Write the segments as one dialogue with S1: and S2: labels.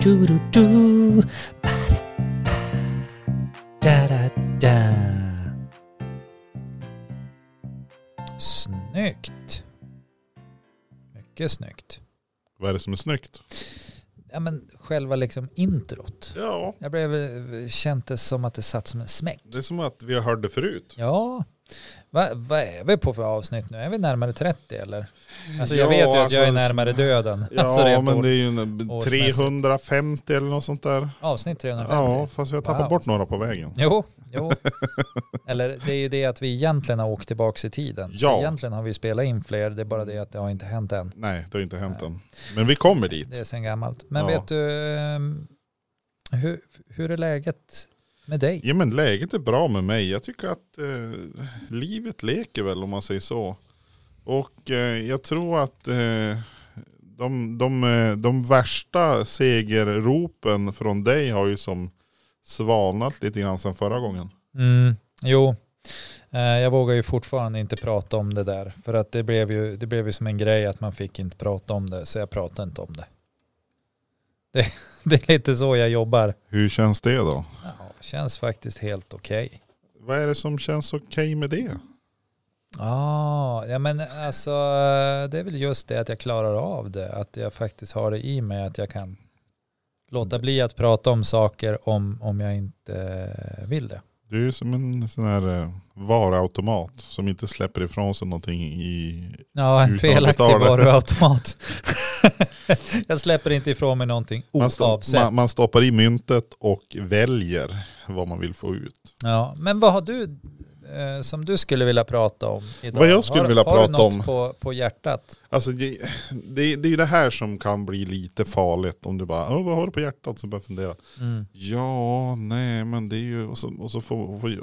S1: Du-du-du-du-du. Ba-da-ba. Da-da-da. Snyggt. Mycket snyggt.
S2: Vad är det som är snyggt?
S1: Ja, men själva liksom introt.
S2: Ja,
S1: Jag blev, kändes som att det satt som en smäck.
S2: det är som att vi har hört det förut.
S1: Ja, Va- vad är vi på för avsnitt nu? Är vi närmare 30 eller? Alltså jag
S2: Ja,
S1: vet ju att jag är
S2: alltså-
S1: närmare döden.
S2: Ja,
S1: alltså rent
S2: men
S1: ord.
S2: det är ju en
S1: årsmässigt.
S2: 350 eller något sånt där.
S1: Avsnitt 350.
S2: Ja, fast vi har tappat
S1: Wow.
S2: bort några på vägen.
S1: Jo, jo. Eller det är ju det att vi egentligen har åkt tillbaka i tiden.
S2: Ja.
S1: Så egentligen har vi spelat in fler, det är bara det att det har inte hänt än.
S2: Nej, det har inte hänt än. Men vi kommer dit.
S1: Det är sen gammalt. Men
S2: Ja.
S1: vet du, ehm, hur, hur är läget med dig?
S2: Ja, men läget är bra med mig. Jag tycker att eh, livet leker väl om man säger så. Och eh, jag tror att eh, de, de, eh, de värsta segerropen från dig har ju som svalnat lite grann sedan förra gången.
S1: Mm, jo, Eh, jag vågar ju fortfarande inte prata om det där. För att det blev, ju, det blev ju som en grej att man fick inte prata om det, så jag pratar inte om det. Det, det är lite så jag jobbar.
S2: Hur känns det då?
S1: Ja, känns faktiskt helt okej.
S2: Vad är det som känns okej med det?
S1: Ah, ja, men alltså det är väl just det att jag klarar av det. Att jag faktiskt har det i mig att jag kan låta bli att prata om saker om, om jag inte vill det.
S2: Du är ju som en sån här eh, varuautomat som inte släpper ifrån sig någonting i...
S1: Ja, en
S2: Utan att
S1: felaktig
S2: betala.
S1: varuautomat. jag släpper inte ifrån mig någonting
S2: Man, sto-
S1: oavsett.
S2: man, man stoppar i myntet och väljer vad man vill få ut.
S1: Ja, men vad har du eh, som du skulle vilja prata om idag?
S2: Vad jag skulle
S1: har,
S2: vilja
S1: har du
S2: prata
S1: något
S2: om?
S1: På, på hjärtat?
S2: Alltså det, det, det är ju det här som kan bli lite farligt om du bara, "Åh, vad har du på hjärtat? Så börjar jag fundera.
S1: Mm.
S2: Ja, nej men det är ju, och så, och så, får, och får,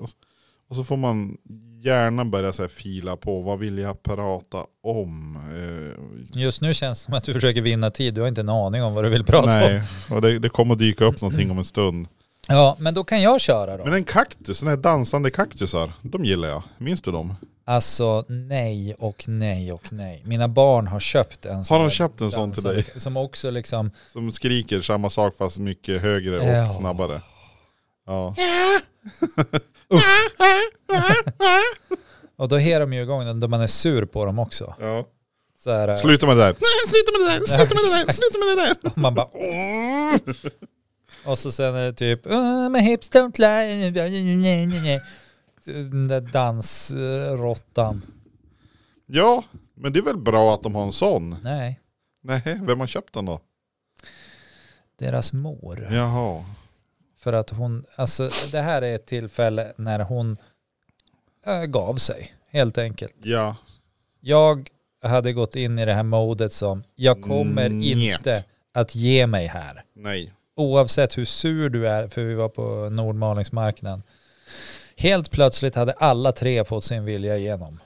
S2: och så får man gärna börja så här fila på, vad vill jag prata om? Eh,
S1: Just nu känns det som att du försöker vinna tid. Du har inte en aning om vad du vill prata om.
S2: nej, och det, det kommer dyka upp någonting om en stund.
S1: Ja, men då kan jag köra då.
S2: Men en kaktus, sådana här dansande kaktusar, de gillar jag. Minns du dem?
S1: Alltså nej och nej och nej. Mina barn har köpt en
S2: Har
S1: här
S2: de köpt en sån till dig?
S1: dansande- Som också liksom,
S2: Som skriker samma sak fast mycket högre och
S1: Ja.
S2: snabbare. Ja.
S1: och då ger de ju igång den då man är sur på dem också.
S2: ja.
S1: Så här, eh,
S2: Sluta med det där. Nej, sluta med det där. Sluta med det där. Sluta med det där.
S1: och man bara Och så sen är det typ "Oh, My hips don't lie. Den där dansrottan.
S2: Ja, men det är väl bra att de har en sån.
S1: Nej,
S2: Nej, vem har köpt den då?
S1: deras mor.
S2: Jaha.
S1: För att hon, alltså det här är ett tillfälle när hon eh, gav sig helt enkelt.
S2: Ja.
S1: jag hade gått in i det här modet som jag kommer
S2: Njet.
S1: inte att ge mig här.
S2: Nej.
S1: Oavsett hur sur du är, för vi var på Nordmalingsmarknaden. Helt plötsligt hade alla tre fått sin vilja igenom.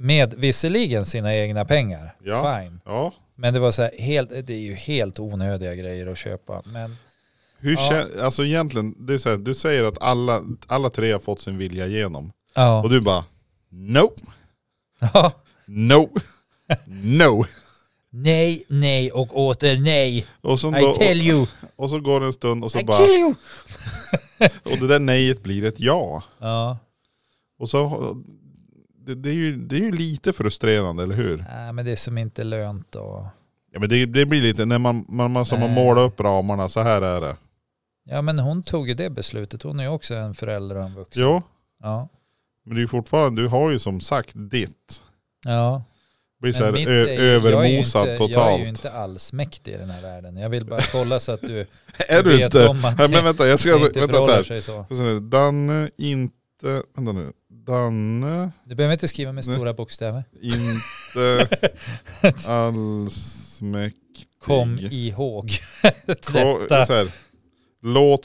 S1: Med visserligen sina egna pengar,
S2: Ja.
S1: fine.
S2: Ja.
S1: Men det var så här, helt, det är ju helt onödiga grejer att köpa. Men
S2: Hur
S1: Ja.
S2: kän- Alltså egentligen, det är så här, du säger att alla, alla tre har fått sin vilja igenom. Och
S1: ja,
S2: du bara, no,
S1: ja.
S2: no, no.
S1: nej, nej och åter nej.
S2: Och så,
S1: I
S2: då,
S1: tell you,
S2: och så går det en stund och så
S1: I
S2: bara,
S1: kill you.
S2: och det där nejet blir ett ja.
S1: Ja,
S2: Och så, det, det, är ju, det är ju lite frustrerande, eller hur?
S1: nej, men det är som inte lönt och...
S2: Ja men det, det blir lite, när man, man, man, som man
S1: Nej.
S2: målar upp ramarna, så här är det.
S1: Ja men hon tog ju det beslutet. Hon är ju också en förälder och en vuxen.
S2: Jo,
S1: Ja.
S2: men det är ju fortfarande, du har ju som sagt ditt.
S1: ja.
S2: Blir så
S1: Men
S2: här
S1: mitt eh,
S2: ö-
S1: är ju- jag
S2: övermosad
S1: är ju inte, Jag är ju
S2: totalt.
S1: inte alls mäktig i den här världen. Jag vill bara kolla så att du
S2: Är du
S1: vet
S2: inte?
S1: om att
S2: Nej men vänta, jag
S1: det
S2: ska,
S1: inte
S2: vänta så
S1: förhåller
S2: här.
S1: sig så.
S2: Så här, Danne inte, vänta nu. Danne
S1: Du behöver inte skriva med
S2: Nej.
S1: stora bokstäver.
S2: inte allsmäktig.
S1: Kom ihåg
S2: Ko-
S1: detta.
S2: Så här, låt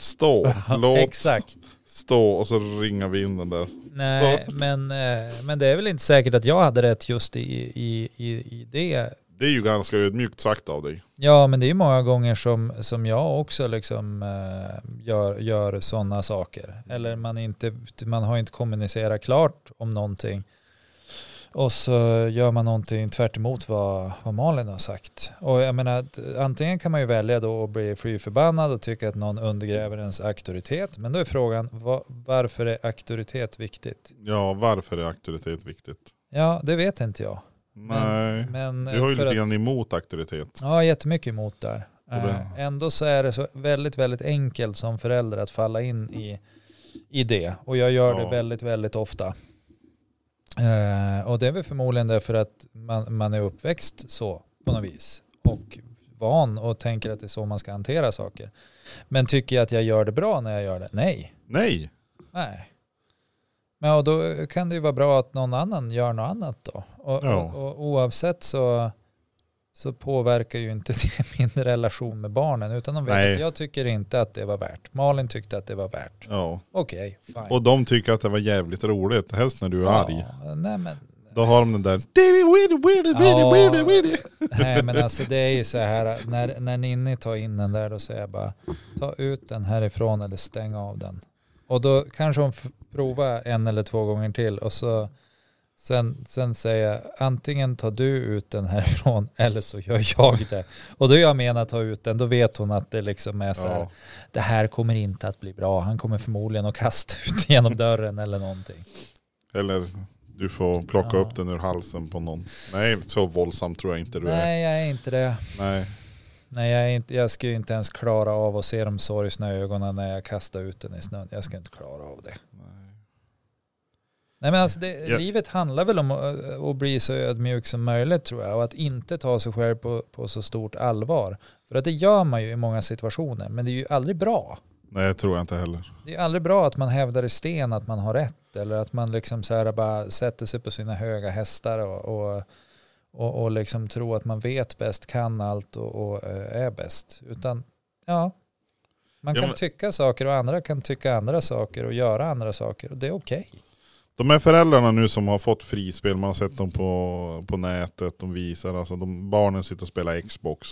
S2: stå, låt
S1: Exakt.
S2: stå och så ringar vi in den där.
S1: Nej, men, eh, men det är väl inte säkert att jag hade rätt just i, i, i, i det.
S2: Det Det är ju ganska ödmjukt sagt av dig.
S1: Ja, men det är ju många gånger som, som jag också liksom eh, gör, gör sådana saker. Eller man, inte, man har inte kommunicerat klart om någonting. Och så gör man någonting tvärt emot vad, vad Malin har sagt. Och jag menar, att antingen kan man ju välja då att bli fly förbannad och tycka att någon undergräver ens auktoritet. Men då är frågan, va- varför är auktoritet viktigt?
S2: Ja, varför är auktoritet viktigt?
S1: Ja, det vet inte jag.
S2: Nej,
S1: Men,
S2: Mm.
S1: eh,
S2: du har ju
S1: för
S2: lite
S1: att-
S2: grann emot auktoritet.
S1: Ja, jättemycket emot där.
S2: Och det-
S1: Eh, Ändå så är det så väldigt, väldigt enkelt som förälder att falla in i, i det. Och jag gör
S2: Ja.
S1: det väldigt, väldigt ofta. Eh, och det är väl förmodligen därför att man, man är uppväxt så på något vis. Och van och tänker att det är så man ska hantera saker. Men tycker jag att jag gör det bra när jag gör det? Nej.
S2: Nej,
S1: Nej. Men och då kan det ju vara bra att någon annan gör något annat då. Och,
S2: Ja.
S1: och, och oavsett så, så påverkar ju inte det min relation med barnen. Utan de vet
S2: Nej.
S1: att jag tycker inte att det var värt. Malin tyckte att det var värt.
S2: ja.
S1: Okej, fine.
S2: Och de tycker att det var jävligt roligt, helst när du är arg.
S1: Ja, nej, men,
S2: Då har de den där... "Diddy, widdy, widdy,
S1: Ja.
S2: widdy, widdy, widdy."
S1: nej men alltså det är ju så här. När, när Ninni tar in den där då säger jag bara ta ut den härifrån eller stäng av den. Och då kanske hon f- provar en eller två gånger till och så sen, sen säger jag antingen tar du ut den härifrån eller så gör jag det. Och då jag menar ta ut den då vet hon att det liksom är så här
S2: Ja.
S1: det här kommer inte att bli bra. Han kommer förmodligen att kasta ut genom dörren eller någonting.
S2: Eller du får plocka
S1: Ja.
S2: upp den ur halsen på någon. Nej, så våldsam tror jag inte du är.
S1: Nej jag är inte det.
S2: Nej.
S1: Nej, jag, är inte, jag ska ju inte ens klara av att se de sorgsna ögonen när jag kastar ut den i snön. Jag ska inte klara av det. Nej, men alltså det,
S2: Ja.
S1: livet handlar väl om att, eh, att bli så ödmjuk som möjligt tror jag och att inte ta sig själv på, på så stort allvar. För att det gör man ju i många situationer, men det är ju aldrig bra.
S2: Nej, det tror jag inte heller.
S1: Det är aldrig bra att man hävdar i sten att man har rätt eller att man liksom så här bara sätter sig på sina höga hästar och, och, och, och liksom tror att man vet bäst, kan allt och, och eh, är bäst. Utan ja, man
S2: Ja,
S1: kan
S2: men-
S1: tycka saker och andra kan tycka andra saker och göra andra saker och det är okej.
S2: De här föräldrarna nu som har fått frispel, man har sett dem på, på nätet, de visar, alltså de, barnen sitter och spelar Xbox.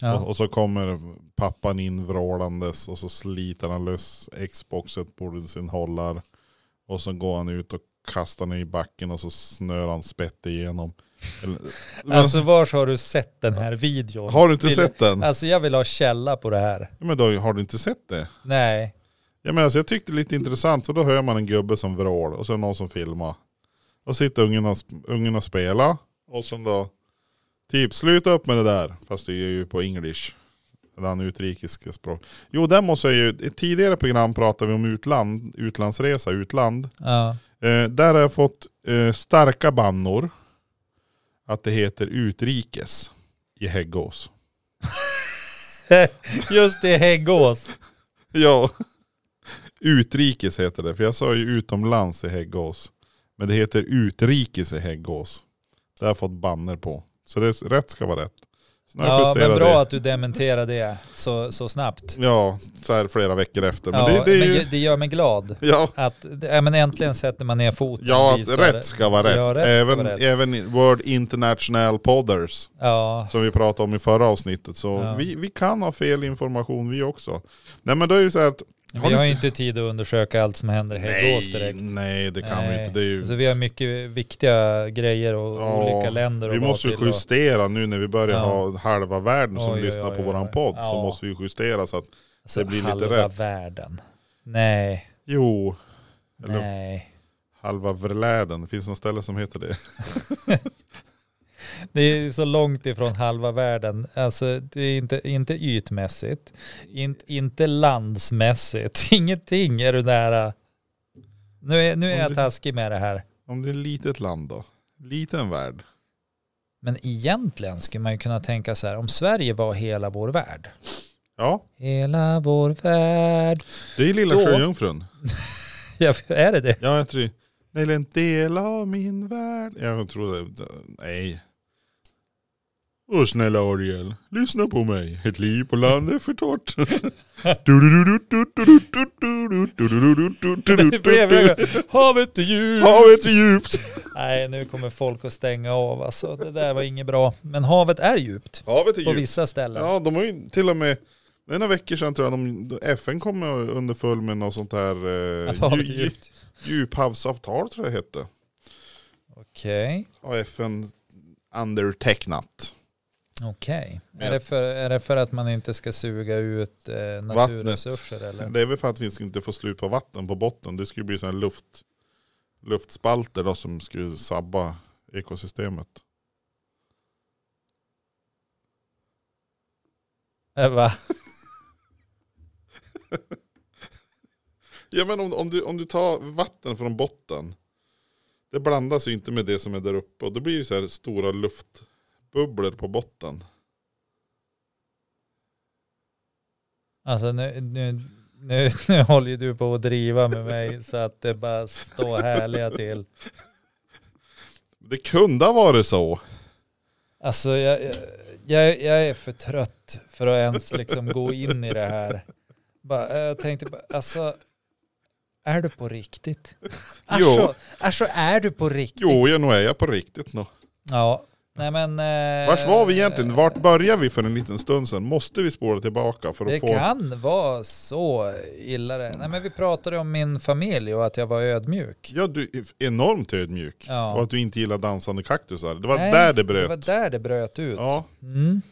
S1: Ja.
S2: Och, och så kommer pappan in vrålandes och så sliter han lös Xboxet på sin hållare. Och så går han ut och kastar den i backen och så snör han spett igenom. Eller, men,
S1: Alltså var har du sett den här videon?
S2: har du inte
S1: Vill-
S2: sett den?
S1: Alltså jag vill ha källa på det här.
S2: Ja, men då har du inte sett det?
S1: Nej.
S2: Ja, men alltså, jag tyckte det var lite intressant, för då hör man en gubbe som vrål och så är det någon som filmar. Och sitter ungen och, ungen och spelar. Och sen då, typ sluta upp med det där. Fast det är ju på English. Eller han utrikiska språk. Jo, där måste jag ju, i ett tidigare program pratade vi om utland, utlandsresa, utland.
S1: Ja.
S2: Eh, där har jag fått eh, starka bannor. Att det heter utrikes i Häggås.
S1: Just det, Häggås.
S2: Ja. Utrikes heter det, för jag sa ju utomlands i Häggås. Men det heter utrikes i Häggås. Det har jag fått banner på. Så det, rätt ska vara rätt. Så när jag
S1: Ja, men
S2: justerade
S1: bra
S2: det,
S1: att du dementerar det så, så snabbt.
S2: Ja, så här flera veckor efter. Men
S1: ja,
S2: det, det är
S1: men
S2: ju...
S1: det gör mig glad.
S2: Ja,
S1: Att, ja, men äntligen sätter man ner foten.
S2: ja
S1: och
S2: att
S1: visar-
S2: rätt ska vara rätt.
S1: Ja, rätt ska
S2: även,
S1: vara rätt.
S2: även i World International Podders.
S1: Ja,
S2: Som vi pratade om i förra avsnittet. Så
S1: Ja.
S2: vi, vi kan ha fel information vi också. Nej men då är det ju så här att...
S1: vi har ju inte tid att undersöka allt som händer i Häggås
S2: nej,
S1: direkt.
S2: nej, det kan vi
S1: Nej.
S2: inte. Det är ju...
S1: Alltså, vi har mycket viktiga grejer och
S2: Ja,
S1: olika länder.
S2: Vi
S1: att vara
S2: måste ju
S1: till och-
S2: justera nu när vi börjar
S1: Ja.
S2: ha halva världen som
S1: Oj, oj,
S2: lyssnar på
S1: oj,
S2: våran
S1: oj.
S2: podd så
S1: Ja.
S2: måste vi justera så att,
S1: alltså,
S2: det blir lite
S1: halva
S2: rätt.
S1: världen. Nej,
S2: jo, eller
S1: nej.
S2: halva världen, det finns något ställe som heter det.
S1: Det är så långt ifrån halva världen. Alltså, det är inte, inte ytmässigt, in, inte landsmässigt, ingenting är du nära. Nu är, nu är
S2: Om du-
S1: jag taskig med det här.
S2: Om det är ett litet land då? Liten värld?
S1: Men egentligen skulle man ju kunna tänka så här, om Sverige var hela vår värld.
S2: Ja,
S1: Hela vår värld.
S2: det är lilla
S1: Då-
S2: sjöjungfrun.
S1: Ja, är det det?
S2: Ja, jag tror Eller en del av min värld. Jag tror det. Nej. Åh snälla Ariel, lyssna på mig. Ett liv på land är för torrt.
S1: Havet är djupt.
S2: Havet är djupt.
S1: Nej, nu kommer folk att stänga av. Alltså, det där var inget bra. Men havet är djupt
S2: Havet är
S1: på
S2: djupt.
S1: vissa ställen.
S2: Ja, de har ju till och med, det är några veckor sedan tror jag, de, FN kom underfull med något sånt här eh,
S1: Att havet är
S2: dju- dju-
S1: djupt.
S2: djuphavsavtal tror jag det hette.
S1: Okej.
S2: Har FN undertecknat.
S1: Okej.
S2: Men-
S1: Är, det för- är det för att man inte ska suga ut eh, naturresurser eller?
S2: Det är väl för att vi ska inte få slut på vatten på botten. Det skulle bli sådana luft, luftspalter då, som skulle sabba ekosystemet.
S1: Eh, Va?
S2: Ja men om, om, du, om du tar vatten från botten. Det blandas ju inte med det som är där uppe. Och då blir det ju så här stora luftbubblor på botten.
S1: Alltså nu, nu, nu, nu håller ju du på att driva med mig så att det bara står härliga till.
S2: Det kunde ha varit så.
S1: Alltså jag, jag- jag, jag är för trött för att ens liksom gå in i det här. Bara, eh, jag tänkte bara, alltså är du på riktigt? Alltså, alltså är du på riktigt?
S2: Jo, ja, nu är jag på riktigt nu.
S1: Ja, nej men. Eh,
S2: Vart var vi egentligen? Vart började vi för en liten stund sedan? Måste vi spåra tillbaka för att
S1: Det
S2: få...
S1: kan vara så illa det. Nej men vi pratade om min familj och att jag var ödmjuk.
S2: Ja, du är enormt ödmjuk.
S1: Ja.
S2: Och att du inte gillar dansande kaktusar. Det var
S1: Nej,
S2: där det
S1: Det
S2: bröt.
S1: var där det bröt ut.
S2: Ja.
S1: Mm.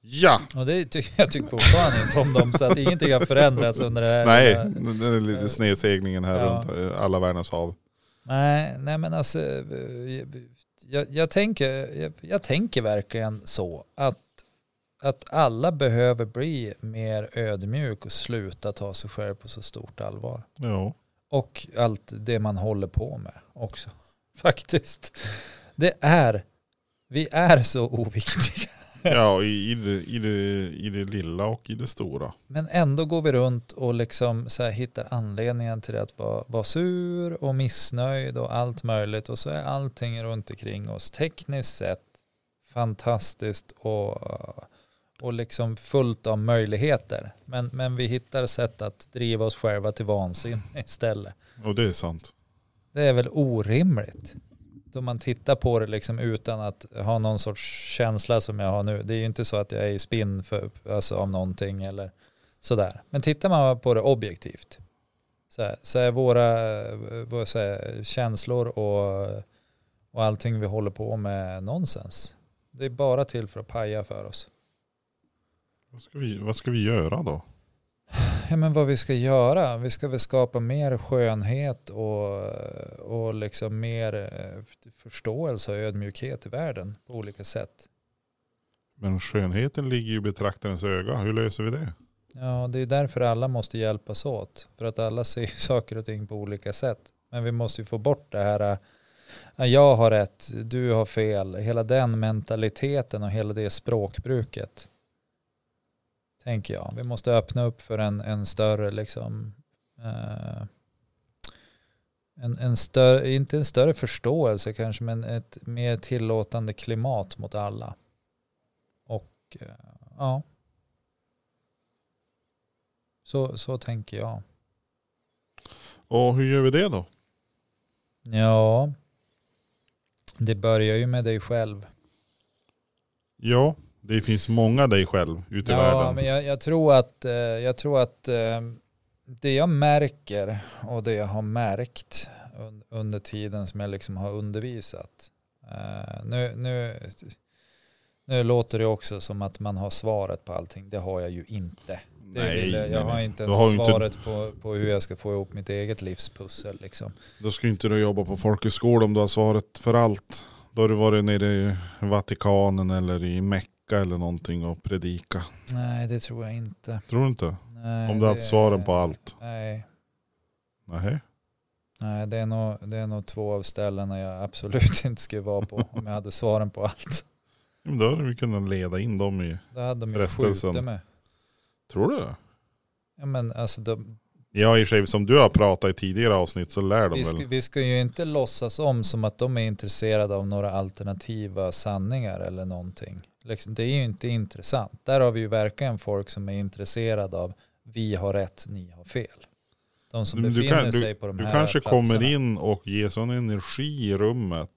S2: ja.
S1: Och det tycker jag tycker fortfarande inte om dem så att ingenting har förändrats under det här.
S2: Nej, det är lite snedseglingen här
S1: Eh, Ja.
S2: runt eh, alla världens hav.
S1: Nej, nej men alltså, eh, jag, jag, tänker, jag, jag tänker verkligen så att, att alla behöver bli mer ödmjuk och sluta ta sig själv på så stort allvar.
S2: Ja.
S1: Och allt det man håller på med också, faktiskt. Det är, vi är så oviktiga.
S2: Ja, i, i, det, i, det, i det lilla och i det stora.
S1: Men ändå går vi runt och liksom så här hittar anledningen till att vara, vara sur och missnöjd och allt möjligt. Och så är allting runt omkring oss tekniskt sett fantastiskt och, och liksom fullt av möjligheter. Men, men vi hittar sätt att driva oss själva till vansinne istället.
S2: Och det är sant.
S1: Det är väl orimligt. Då man tittar på det liksom utan att ha någon sorts känsla som jag har nu. Det är ju inte så att jag är i spinn för, alltså av någonting eller sådär. Men tittar man på det objektivt så, här, så är våra eh, vad ska jag säga, känslor och, och allting vi håller på med nonsens. Det är bara till för att paja för oss.
S2: Vad ska vi, vad ska vi göra då?
S1: Ja, men vad vi ska göra, vi ska väl skapa mer skönhet och, och liksom mer eh, förståelse och ödmjukhet i världen på olika sätt.
S2: Men skönheten ligger ju i betraktarens öga. Hur löser vi det?
S1: Ja, det är därför alla måste hjälpas åt, för att alla ser saker och ting på olika sätt. Men vi måste ju få bort det här, eh, jag har rätt, du har fel, hela den mentaliteten och hela det språkbruket. Tänker jag. Vi måste öppna upp för en, en större liksom, eh, en, en större, inte en större förståelse kanske, men ett mer tillåtande klimat mot alla. Och eh, ja, så, så tänker jag.
S2: Och hur gör vi det då?
S1: Ja, det börjar ju med dig själv.
S2: Ja, det finns många dig själv ute i
S1: Ja,
S2: världen.
S1: men jag, jag tror att, eh, jag tror att eh, det jag märker och det jag har märkt un, under tiden som jag liksom har undervisat. Eh, nu, nu, nu låter det också som att man har svaret på allting. Det har jag ju inte. Det
S2: nej,
S1: vill jag, jag har
S2: nej.
S1: inte
S2: Då
S1: ens
S2: har du inte-
S1: svaret på, på hur jag ska få ihop mitt eget livspussel. Liksom.
S2: Då ska ju inte du jobba på folkhögskola om du har svaret för allt. Då har du varit nere i Vatikanen eller i Mecka eller någonting och predika.
S1: Nej, det tror jag inte.
S2: Tror du inte?
S1: Nej,
S2: Om du har haft
S1: det-
S2: svaren på allt.
S1: Nej,
S2: Nej.
S1: Nej, det är, nog, det är nog två av ställena jag absolut inte skulle vara på om jag hade svaren på allt.
S2: Men då hade vi kunnat leda in dem i...
S1: Då hade de ju
S2: Frestelsen.
S1: skjutit mig.
S2: Tror du det?
S1: Ja, men alltså, de,
S2: Ja i och för sig som du har pratat i tidigare avsnitt så lär de
S1: vi,
S2: väl.
S1: ska, vi ska ju inte låtsas om som att de är intresserade av några alternativa sanningar eller någonting. Liksom, det är ju inte intressant. Där har vi ju verkligen folk som är intresserade av vi har rätt, ni har fel. De som
S2: Men du
S1: befinner
S2: kan-
S1: sig på de
S2: Du
S1: här
S2: kanske
S1: platserna.
S2: kommer in och ger sån energi i rummet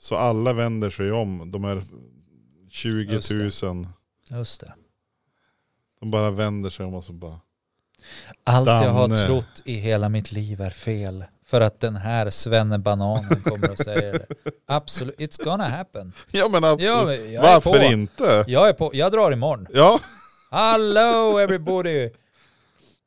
S2: så alla vänder sig om. De här 20
S1: Just
S2: 000.
S1: Just det.
S2: De bara vänder sig om och så bara.
S1: Allt jag har
S2: Danne.
S1: trott i hela mitt liv är fel. För att den här svennebananen kommer och säger det. Absolut, it's gonna happen.
S2: Ja men absolut.
S1: Ja, men jag är
S2: Varför
S1: på.
S2: inte?
S1: Jag är på, jag drar imorgon.
S2: Ja,
S1: Hello everybody!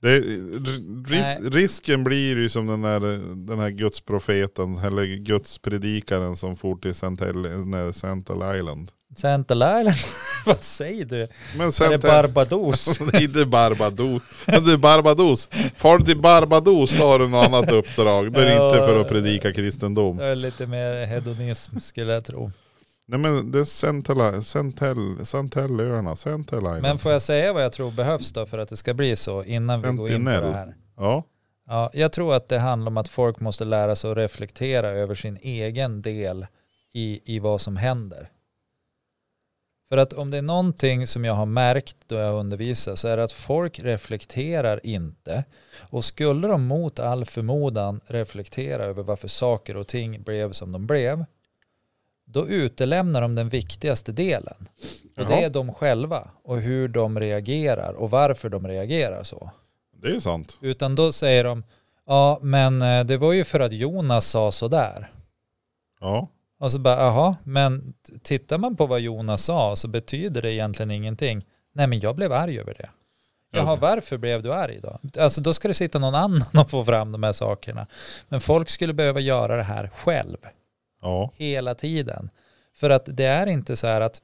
S2: det, r- ris,
S1: Nej.
S2: risken blir ju som den här, den här gudsprofeten eller gudspredikaren som for till Sentinel, nej, Sentinel Island.
S1: Central Island, vad säger du?
S2: Men
S1: Är det
S2: Sentinel-
S1: Barbados?
S2: Det är inte Barbados. Men Det är Barbados. Far till Barbados då har du något annat uppdrag. Det är
S1: Ja.
S2: inte för att predika kristendom.
S1: Det är lite mer hedonism skulle jag tro.
S2: Nej men det är Sentella, Sentell, Sentellöarna, Sentell Island.
S1: Men får jag säga vad jag tror behövs då för att det ska bli så innan vi går in på det
S2: Sentinel.
S1: här?
S2: Ja.
S1: Ja, jag tror att det handlar om att folk måste lära sig att reflektera över sin egen del i, i vad som händer. För att om det är någonting som jag har märkt då jag undervisar så är det att folk reflekterar inte. Och skulle de mot all förmodan reflektera över varför saker och ting blev som de blev, då utelämnar de den viktigaste delen. Och det
S2: Jaha.
S1: är de själva och hur de reagerar och varför de reagerar så.
S2: Det är sant.
S1: Utan då säger de, ja men eh, det var ju för att Jonas sa sådär.
S2: Ja.
S1: Och så bara, jaha, men t- tittar man på vad Jonas sa så betyder det egentligen ingenting. Nej men jag blev arg över det. Jaha,
S2: Ja.
S1: varför blev du arg då? Alltså då ska det sitta någon annan och få fram de här sakerna. Men folk skulle behöva göra det här själv
S2: Ja.
S1: hela tiden. För att det är inte så här att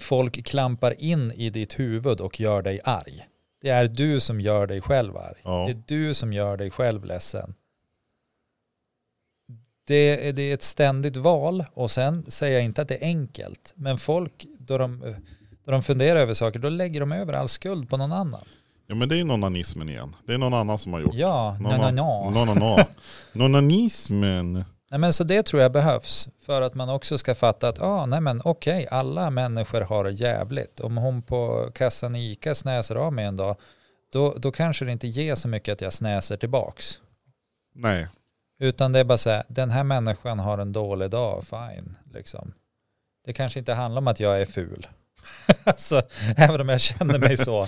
S1: folk klampar in i ditt huvud och gör dig arg. Det är du som gör dig själv arg.
S2: Ja.
S1: Det är du som gör dig själv ledsen. Det är, det är ett ständigt val och sen säger jag inte att det är enkelt. Men folk, då de, då de funderar över saker, då lägger de över all skuld på någon annan.
S2: Ja men det är nonanismen igen. Det är någon annan som har gjort.
S1: Ja, no,
S2: Någon
S1: no,
S2: har-
S1: no.
S2: Nonana. Nonanismen.
S1: Nej, men så det tror jag behövs för att man också ska fatta att ah, nej, men okej, alla människor har det jävligt. Om hon på kassan i ICA snäser av mig en dag, då, då kanske det inte ger så mycket att jag snäser tillbaks.
S2: Nej.
S1: Utan det är bara så här, den här människan har en dålig dag, fine. Liksom. Det kanske inte handlar om att jag är ful. alltså, även om jag känner mig så.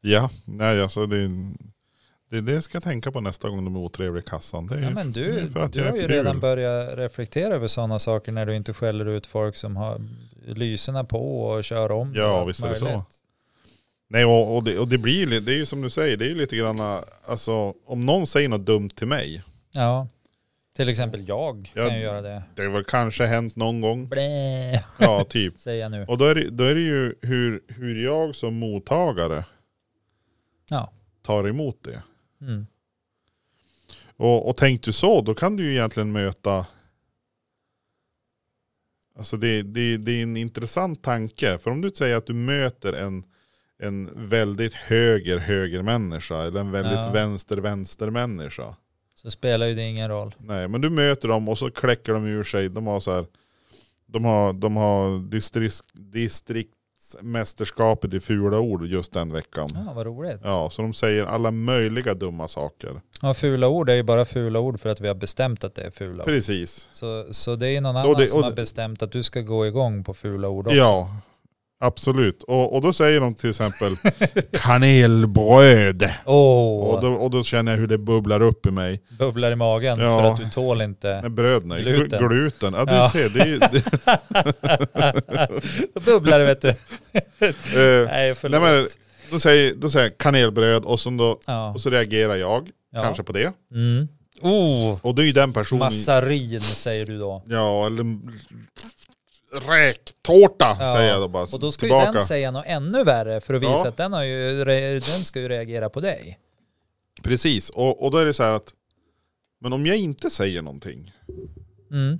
S2: Ja. Nej alltså det är... Det, det ska jag tänka på nästa gång de är otrevliga i kassan. Det är
S1: Ja,
S2: ju
S1: men
S2: f- det är
S1: du
S2: för att
S1: du
S2: jag
S1: har
S2: är
S1: ju
S2: ful.
S1: redan börjat reflektera över sådana saker när du inte skäller ut folk som har lyserna på och kör om.
S2: Ja,
S1: och allt
S2: visst är det så.
S1: möjligt.
S2: Nej och, och, det, och det blir ju li- det är ju som du säger, det är ju lite grann, alltså om någon säger något dumt till mig,
S1: Ja, till exempel jag kan
S2: Ja,
S1: ju göra det.
S2: det har väl kanske hänt någon gång,
S1: Blä,
S2: ja typ.
S1: säger jag nu.
S2: Och då är det, då är det ju hur, hur jag som mottagare
S1: Ja.
S2: tar emot det.
S1: Mm.
S2: Och, och tänk du så, då kan du ju egentligen möta, alltså det, det, det är en intressant tanke, för om du säger att du möter en en väldigt höger höger människa eller en väldigt
S1: Ja.
S2: vänster vänster människa.
S1: Så spelar ju det ingen roll.
S2: Nej, men du möter dem och så kläcker de ur sig. De har så här, de har, de har distrikt, distriktsmästerskapet i fula ord just den veckan.
S1: Ja, vad roligt.
S2: Ja, så de säger alla möjliga dumma saker.
S1: Ja, fula ord är ju bara fula ord för att vi har bestämt att det är fula ord.
S2: Precis.
S1: Så, så det är ju någon
S2: Och
S1: annan
S2: det-
S1: som
S2: och
S1: har
S2: det-
S1: bestämt att du ska gå igång på fula ord också.
S2: Ja, absolut. Och, och då säger de till exempel kanelbröd.
S1: Åh,
S2: Och då, och då känner jag hur det bubblar upp i mig.
S1: bubblar i magen
S2: Ja.
S1: för att du tål inte.
S2: Nej, bröd nej.
S1: Gluten.
S2: Gluten. Gluten. Ja, du
S1: Ja.
S2: ser. Det, är- det,
S1: Då bubblar det vet du.
S2: eh,
S1: Nej, förlåt.
S2: Nej, men- då, säger, då säger jag kanelbröd och, så då,
S1: ja.
S2: och så reagerar jag
S1: Ja.
S2: kanske på det.
S1: Mm. Oh,
S2: Och det är ju den personen.
S1: massarin säger du då.
S2: Ja, eller räktårta
S1: Ja.
S2: säger jag då bara.
S1: Och då ska
S2: tillbaka.
S1: ju den säga något ännu värre för att visa
S2: Ja.
S1: att den, har ju, re- den ska ju reagera på dig.
S2: Precis, och, och då är det så här att, men om jag inte säger någonting.
S1: Mm.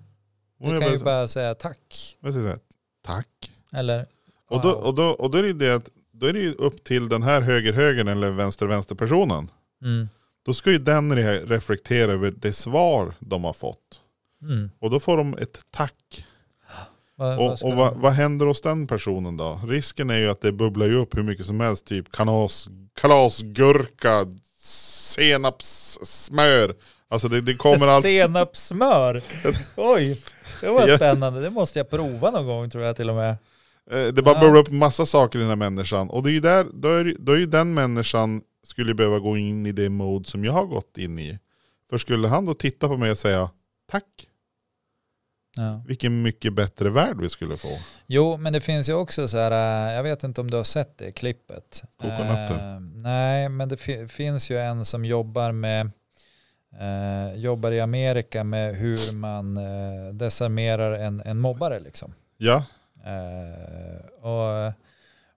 S2: om
S1: Du
S2: jag
S1: kan
S2: bara,
S1: ju bara säga tack.
S2: jag säger så här, tack.
S1: Eller
S2: Och, då,
S1: wow.
S2: och, då, och då är det ju det att, då är det ju upp till den här höger-högern eller vänster-vänster-personen.
S1: Mm.
S2: Då ska ju den re- reflektera över det svar de har fått.
S1: Mm.
S2: Och då får de ett tack.
S1: Vad- vad
S2: Och,
S1: ska
S2: och vad, vad händer hos den personen då? Risken är ju att det bubblar ju upp hur mycket som helst. Typ kanas, kalasgurka, senapssmör. Alltså det, det kommer allt.
S1: Senapssmör. Oj, det var
S2: Ja.
S1: spännande. Det måste jag prova någon gång tror jag till och med.
S2: Eh, Det bara
S1: Ja.
S2: bubblar upp massa saker i den här människan. Och det är ju där, då är, då är ju den människan skulle ju behöva gå in i det mod som jag har gått in i. För skulle han då titta på mig och säga tack,
S1: Ja.
S2: vilken mycket bättre värld vi skulle få.
S1: Jo, men det finns ju också så här, eh, jag vet inte om du har sett det klippet.
S2: Kokonatten.
S1: Eh, nej, men det fi- finns ju en som jobbar med eh, jobbar i Amerika med hur man eh, desarmerar en, en mobbare liksom.
S2: Ja,
S1: Eh, och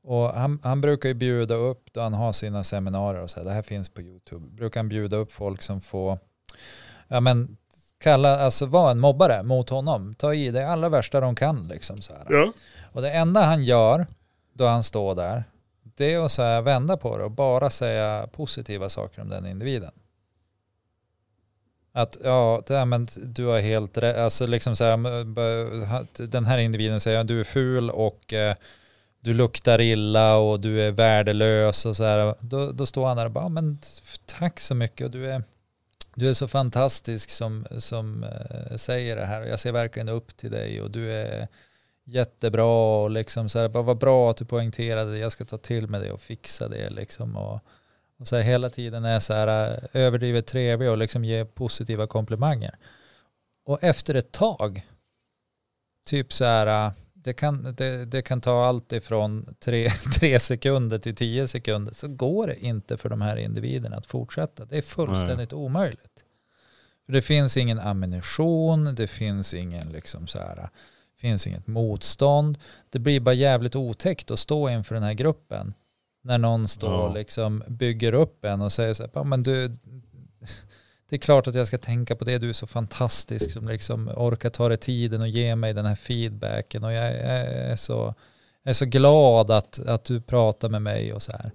S1: och han, han brukar ju bjuda upp då han har sina seminarier och så här, det här finns på YouTube, brukar han bjuda upp folk som får, ja men kalla, alltså vara en mobbare mot honom, ta i det allra värsta de kan liksom så här.
S2: ja.
S1: Och det enda han gör då han står där, det är att så här vända på det och bara säga positiva saker om den individen. Att ja, det här, men du har helt rätt, alltså liksom så här, m- b- att den här individen säger att du är ful och eh, du luktar illa och du är värdelös och så här. Då, då står han där och bara, "Ja, men tack så mycket och du är, du är så fantastisk som, som eh, säger det här och jag ser verkligen upp till dig och du är jättebra och liksom så här, bara vad bra att du poängterade det, jag ska ta till mig det och fixa det liksom och, och så här, hela tiden är så här eh, överdrivet trevlig och liksom ger positiva komplimanger. Och efter ett tag, typ så här, eh, det kan, det, det kan ta allt ifrån tre, tre sekunder till tio sekunder, så går det inte för de här individerna att fortsätta. Det är fullständigt omöjligt. För det finns ingen ammunition, det finns ingen liksom så här, finns inget motstånd. Det blir bara jävligt otäckt att stå inför den här gruppen när någon står
S2: Ja.
S1: och liksom bygger upp en och säger så här, "Ja, men du, det är klart att jag ska tänka på det, du är så fantastisk som liksom orkar ta dig tiden och ge mig den här feedbacken och jag är är så, jag är så glad att, att du pratar med mig och så här.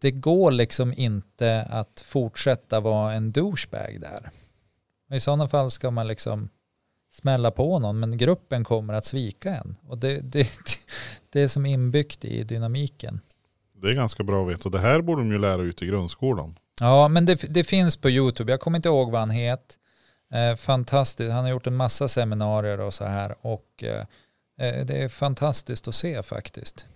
S1: Det går liksom inte att fortsätta vara en douchebag där. I sådana fall ska man liksom smälla på någon, men gruppen kommer att svika en. Och det, det, det är som inbyggt i dynamiken.
S2: Det är ganska bra att veta. Och det här borde de ju lära ut i grundskolan.
S1: Ja, men det, det finns på YouTube. Jag kommer inte ihåg vad han het. Eh, fantastiskt. Han har gjort en massa seminarier och så här. Och eh, eh, det är fantastiskt att se faktiskt.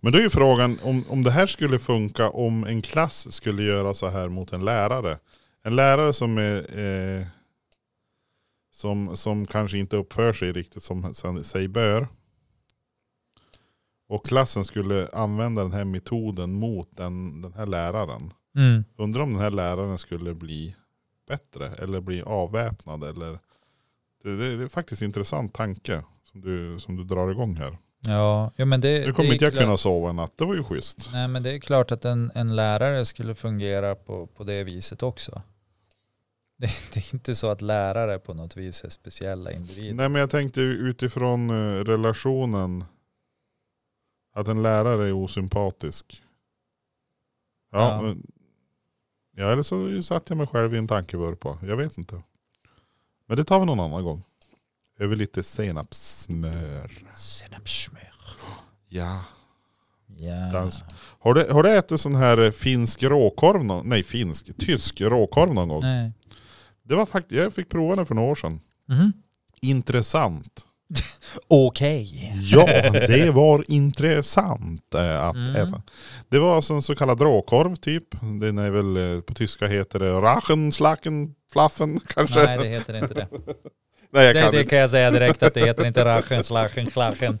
S2: Men då är ju frågan om, om det här skulle funka om en klass skulle göra så här mot en lärare. En lärare som är eh, som, som kanske inte uppför sig riktigt som som sig bör. Och klassen skulle använda den här metoden mot den, den här läraren.
S1: Mm.
S2: Undrar om den här läraren skulle bli bättre eller bli avväpnad. Eller, det, det, det är faktiskt en intressant tanke som du, som du drar igång här.
S1: Ja, jo, men det,
S2: Nu
S1: det
S2: kommer
S1: är
S2: inte jag
S1: klart-
S2: kunna sova en natt, det var ju schysst.
S1: Nej, men det är klart att en, en lärare skulle fungera på, på det viset också. Det, det är inte så att lärare på något vis är speciella individer.
S2: Nej men jag tänkte utifrån eh, relationen att en lärare är osympatisk. Ja,
S1: Ja.
S2: men- ja eller så satte jag mig själv i en tankevurpa. Jag vet inte. Men det tar vi någon annan gång. Över lite senapssmör.
S1: Senapssmör.
S2: Ja.
S1: Ja.
S2: Dans. Har du, har du ätit sån här eh, finsk råkorv någon Nej finsk, tysk råkorv någon gång?
S1: Nej.
S2: Det var faktiskt, jag fick prova den för några år sedan.
S1: Mhm.
S2: Intressant.
S1: Okej.
S2: Ja, det var intressant eh, att
S1: Mm.
S2: äta. Det var alltså en så kallad råkorv typ. Den är väl eh, på tyska heter det Rachen, Slacken, Flaffen kanske.
S1: Nej, det heter inte det.
S2: Nej, jag
S1: Det,
S2: kan
S1: det
S2: inte.
S1: kan jag säga direkt att det heter inte Rachen, Slachen, Klachen.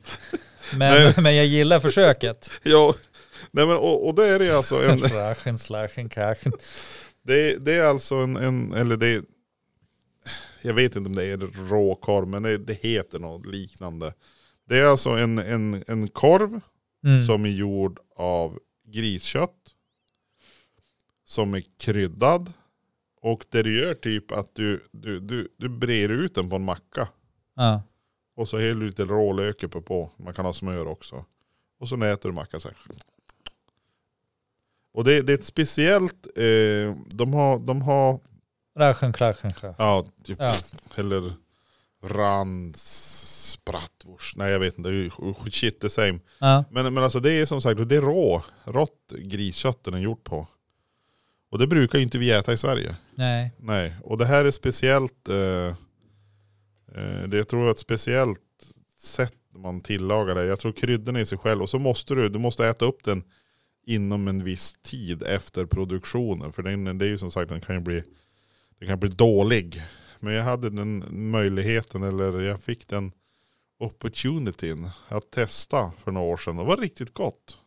S1: Men, men jag gillar försöket.
S2: Ja. Nej, men, och, och det är det alltså en,
S1: Rachen, Slachen, Krachen.
S2: det, är- det är alltså en, en eller det är, jag vet inte om det är råkorv men det, det heter något liknande. Det är alltså en, en, en korv
S1: Mm.
S2: som är gjord av griskött. Som är kryddad. Och det du gör typ att du, du, du, du brer ut den på en macka.
S1: Ja.
S2: Och så häller du lite rålök uppe på. Man kan ha smör också. Och så äter du macka så här. Och det, det är ett speciellt, eh, de har, de har
S1: Rachen, Klachen, Krachen.
S2: ja, typ,
S1: Ja.
S2: eller rans, Bratwurst, bratwurst. Nej jag vet inte, det är ju shit the same.
S1: Ja.
S2: Men, men alltså det är som sagt, det är rå, rått griskött den är gjort på. Och det brukar ju inte vi äta i Sverige.
S1: Nej.
S2: Nej, och det här är speciellt, eh, eh, det jag tror är ett speciellt sätt man tillagar det. Jag tror kryddorna i sig själv, och så måste du, du måste äta upp den inom en viss tid efter produktionen. För den, det är ju som sagt, den kan ju bli, den kan bli dålig. Men jag hade den möjligheten, eller jag fick den opportunityn att testa för några år sedan. Det var riktigt gott.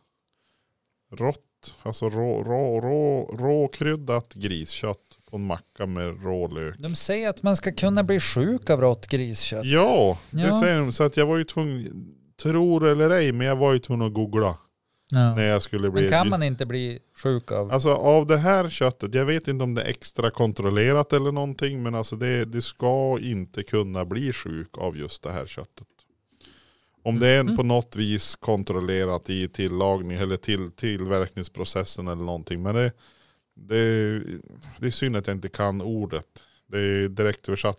S2: Rått, alltså rå, rå, rå, råkryddat griskött på en macka med rålök.
S1: De säger att man ska kunna bli sjuk av rått griskött.
S2: Ja, det
S1: Ja.
S2: säger de. Så att jag var ju tvungen, tror eller ej, men jag var ju tvungen att googla
S1: Ja.
S2: när jag skulle bli...
S1: Men kan man inte bli sjuk av?
S2: Alltså av det här köttet, jag vet inte om det är extra kontrollerat eller någonting, men alltså det, det ska inte kunna bli sjuk av just det här köttet. Om det är
S1: Mhm.
S2: på något vis kontrollerat i tillagning eller till, tillverkningsprocessen eller någonting. Men det, det, det är synd att jag inte kan ordet. Det är direkt översatt.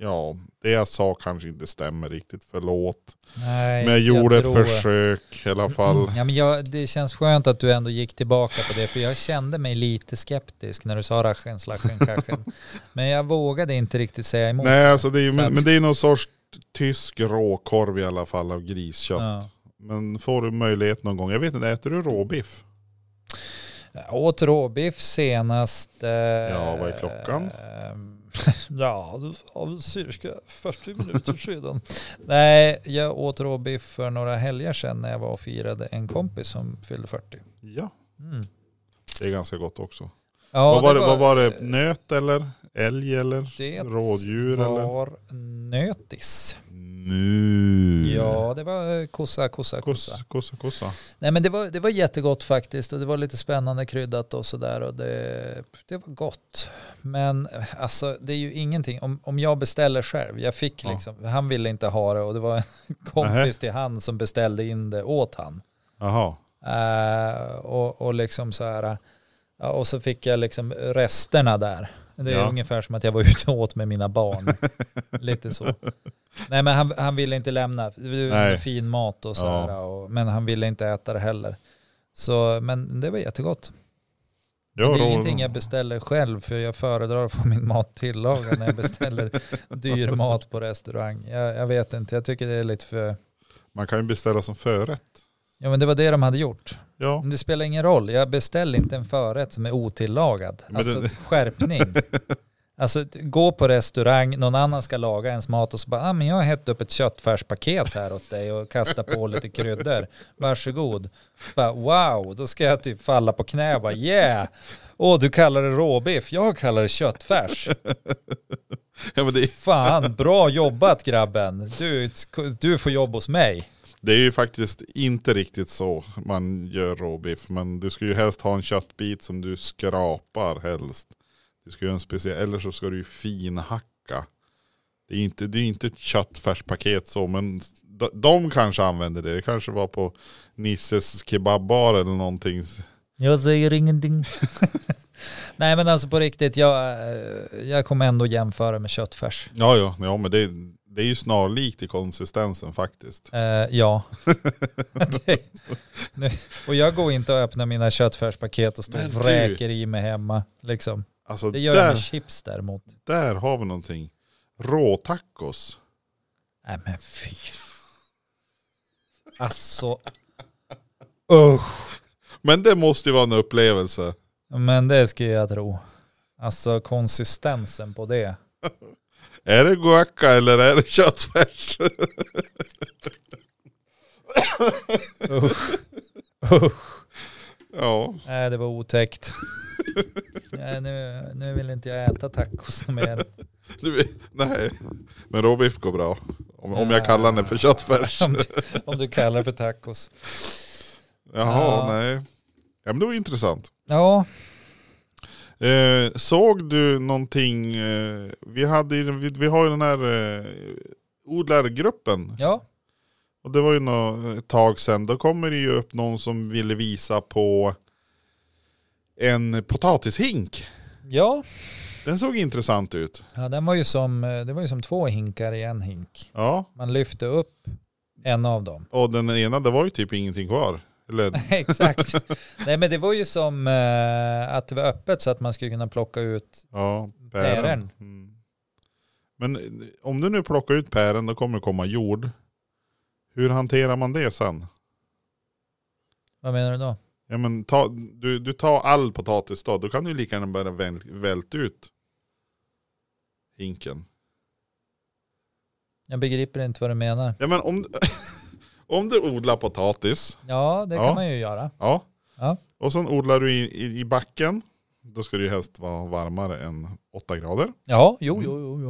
S2: Ja, det jag sa kanske inte stämmer riktigt, förlåt.
S1: Nej,
S2: Men jag gjorde ett
S1: tror-
S2: försök i alla fall.
S1: Mm. Ja, men jag, det känns skönt att du ändå gick tillbaka på det, för jag kände mig lite skeptisk när du sa rachen, slachen, kachen. Men jag vågade inte riktigt säga emot.
S2: Nej, alltså det är, ju-
S1: Så
S2: men,
S1: att-
S2: men det är någon sorts tysk råkorv i alla fall av griskött.
S1: Ja.
S2: Men får du möjlighet någon gång, jag vet inte, äter du råbiff?
S1: Jag åt råbiff senast... Eh, ja,
S2: vad är klockan?
S1: ja, av cirka 40 minuter sedan. Nej, jag åt råbiff för några helger sedan när jag var och firade en kompis som fyllde 40.
S2: Ja,
S1: Mm.
S2: det är ganska gott också.
S1: Ja, eh,
S2: vad, var det, vad var det, nöt eller älg eller
S1: det
S2: rådjur eller?
S1: var nötis.
S2: Mu.
S1: Ja, det var eh, kossa, kossa, kossa.
S2: Kossa, kossa, kossa.
S1: Nej men det var, det var jättegott faktiskt och det var lite spännande kryddat och sådär och det, det var gott. Men eh, alltså det är ju ingenting, om, om jag beställer själv, jag fick
S2: Ja.
S1: liksom, han ville inte ha det och det var en
S2: Nähä.
S1: kompis till han som beställde in det åt han.
S2: Jaha.
S1: Eh, och, och liksom så här, eh, ja, och så fick jag liksom resterna där. Det är
S2: Ja.
S1: ungefär som att jag var ute och åt med mina barn. Lite så. Nej men han, han ville inte lämna, det var
S2: Nej.
S1: fin mat och så
S2: Ja.
S1: här, och, men han ville inte äta det heller. Så, men det var jättegott.
S2: Ja,
S1: det är
S2: rå-
S1: ingenting jag beställer själv för jag föredrar att få min mat tillagad när jag beställer dyr mat på restaurang. Jag, jag vet inte, jag tycker det är lite för...
S2: Man kan ju beställa som förrätt.
S1: Ja men det var det de hade gjort.
S2: Ja.
S1: Men det spelar ingen roll, jag beställer inte en förrätt som är otillagad.
S2: Men
S1: Alltså
S2: den-
S1: skärpning. Alltså gå på restaurang, någon annan ska laga ens mat och så bara, ah, men jag har hett upp ett köttfärspaket här åt dig och kastat på lite kryddor. Varsågod. Bara, wow, då ska jag typ falla på knä och bara yeah. Åh, du kallar det råbiff, jag kallar det köttfärs.
S2: Ja, men det,
S1: Fan, bra jobbat grabben. Du, du får jobb hos mig.
S2: det är ju faktiskt inte riktigt så man gör råbiff. Men du ska ju helst ha en köttbit som du skrapar helst. Du ska göra en speciell, eller så ska du ju finhacka. Det är ju inte, det är ju inte ett köttfärspaket så, men de, de kanske använder det. Det kanske var på Nisses kebabbar eller någonting.
S1: Jag säger ingenting. Nej men alltså på riktigt, jag, eh, jag kommer ändå jämföra med köttfärs.
S2: Ja, ja, ja men det, det är ju snarlikt i konsistensen faktiskt.
S1: Eh, ja. Det- nu- och jag går inte och öppnar mina köttfärspaket och står och
S2: Men du-
S1: vräker i mig hemma. Liksom.
S2: Alltså
S1: Det gör jag
S2: där,
S1: med chips däremot.
S2: där har vi någonting. Råtacos.
S1: Nej men fy. Alltså. Usch.
S2: Men det måste ju vara en upplevelse.
S1: Men det skulle jag tro. Alltså konsistensen på det.
S2: Är det guacca eller är det köttfärs?
S1: Usch. Usch.
S2: Ja,
S1: Nej, det var otäckt. Nej, nu, nu vill inte jag äta tacos mer.
S2: du vet, nej. Men råbiff går bra. Om, om jag kallar den för köttfärs.
S1: Om du, om du kallar det för tacos.
S2: Jaha,
S1: Ja.
S2: nej. Ja men det var ju intressant.
S1: Ja,
S2: Eh, såg du någonting, eh, vi, hade, ju- vi, vi har ju den här eh, odlargruppen.
S1: ja.
S2: Och det var ju nå- ett tag sedan. Då kommer det ju upp någon som ville visa på en potatishink.
S1: ja.
S2: Den såg intressant ut.
S1: Ja, den var ju som, eh, det var ju som två hinkar i en hink.
S2: Ja,
S1: Man lyfte upp en av dem.
S2: och den ena det var ju typ ingenting kvar. Eller,
S1: Exakt. Nej men det var ju som eh, att det var öppet så att man skulle kunna plocka ut.
S2: ja,
S1: Pären.
S2: pären. Mm. Men eh, om du nu plockar ut pären då kommer det komma jord. Hur hanterar man det sen?
S1: Vad menar du då?
S2: Ja, men ta, du, du tar all potatis då, då kan du lika gärna bara väl, välta ut hinken.
S1: Jag begriper inte vad du menar.
S2: Ja men om, om du odlar potatis,
S1: Ja det kan
S2: Ja.
S1: man ju göra.
S2: ja.
S1: Ja.
S2: Och sen odlar du i, i, i backen, då ska det ju helst vara varmare än 8 grader.
S1: Ja, jo, jo, jo.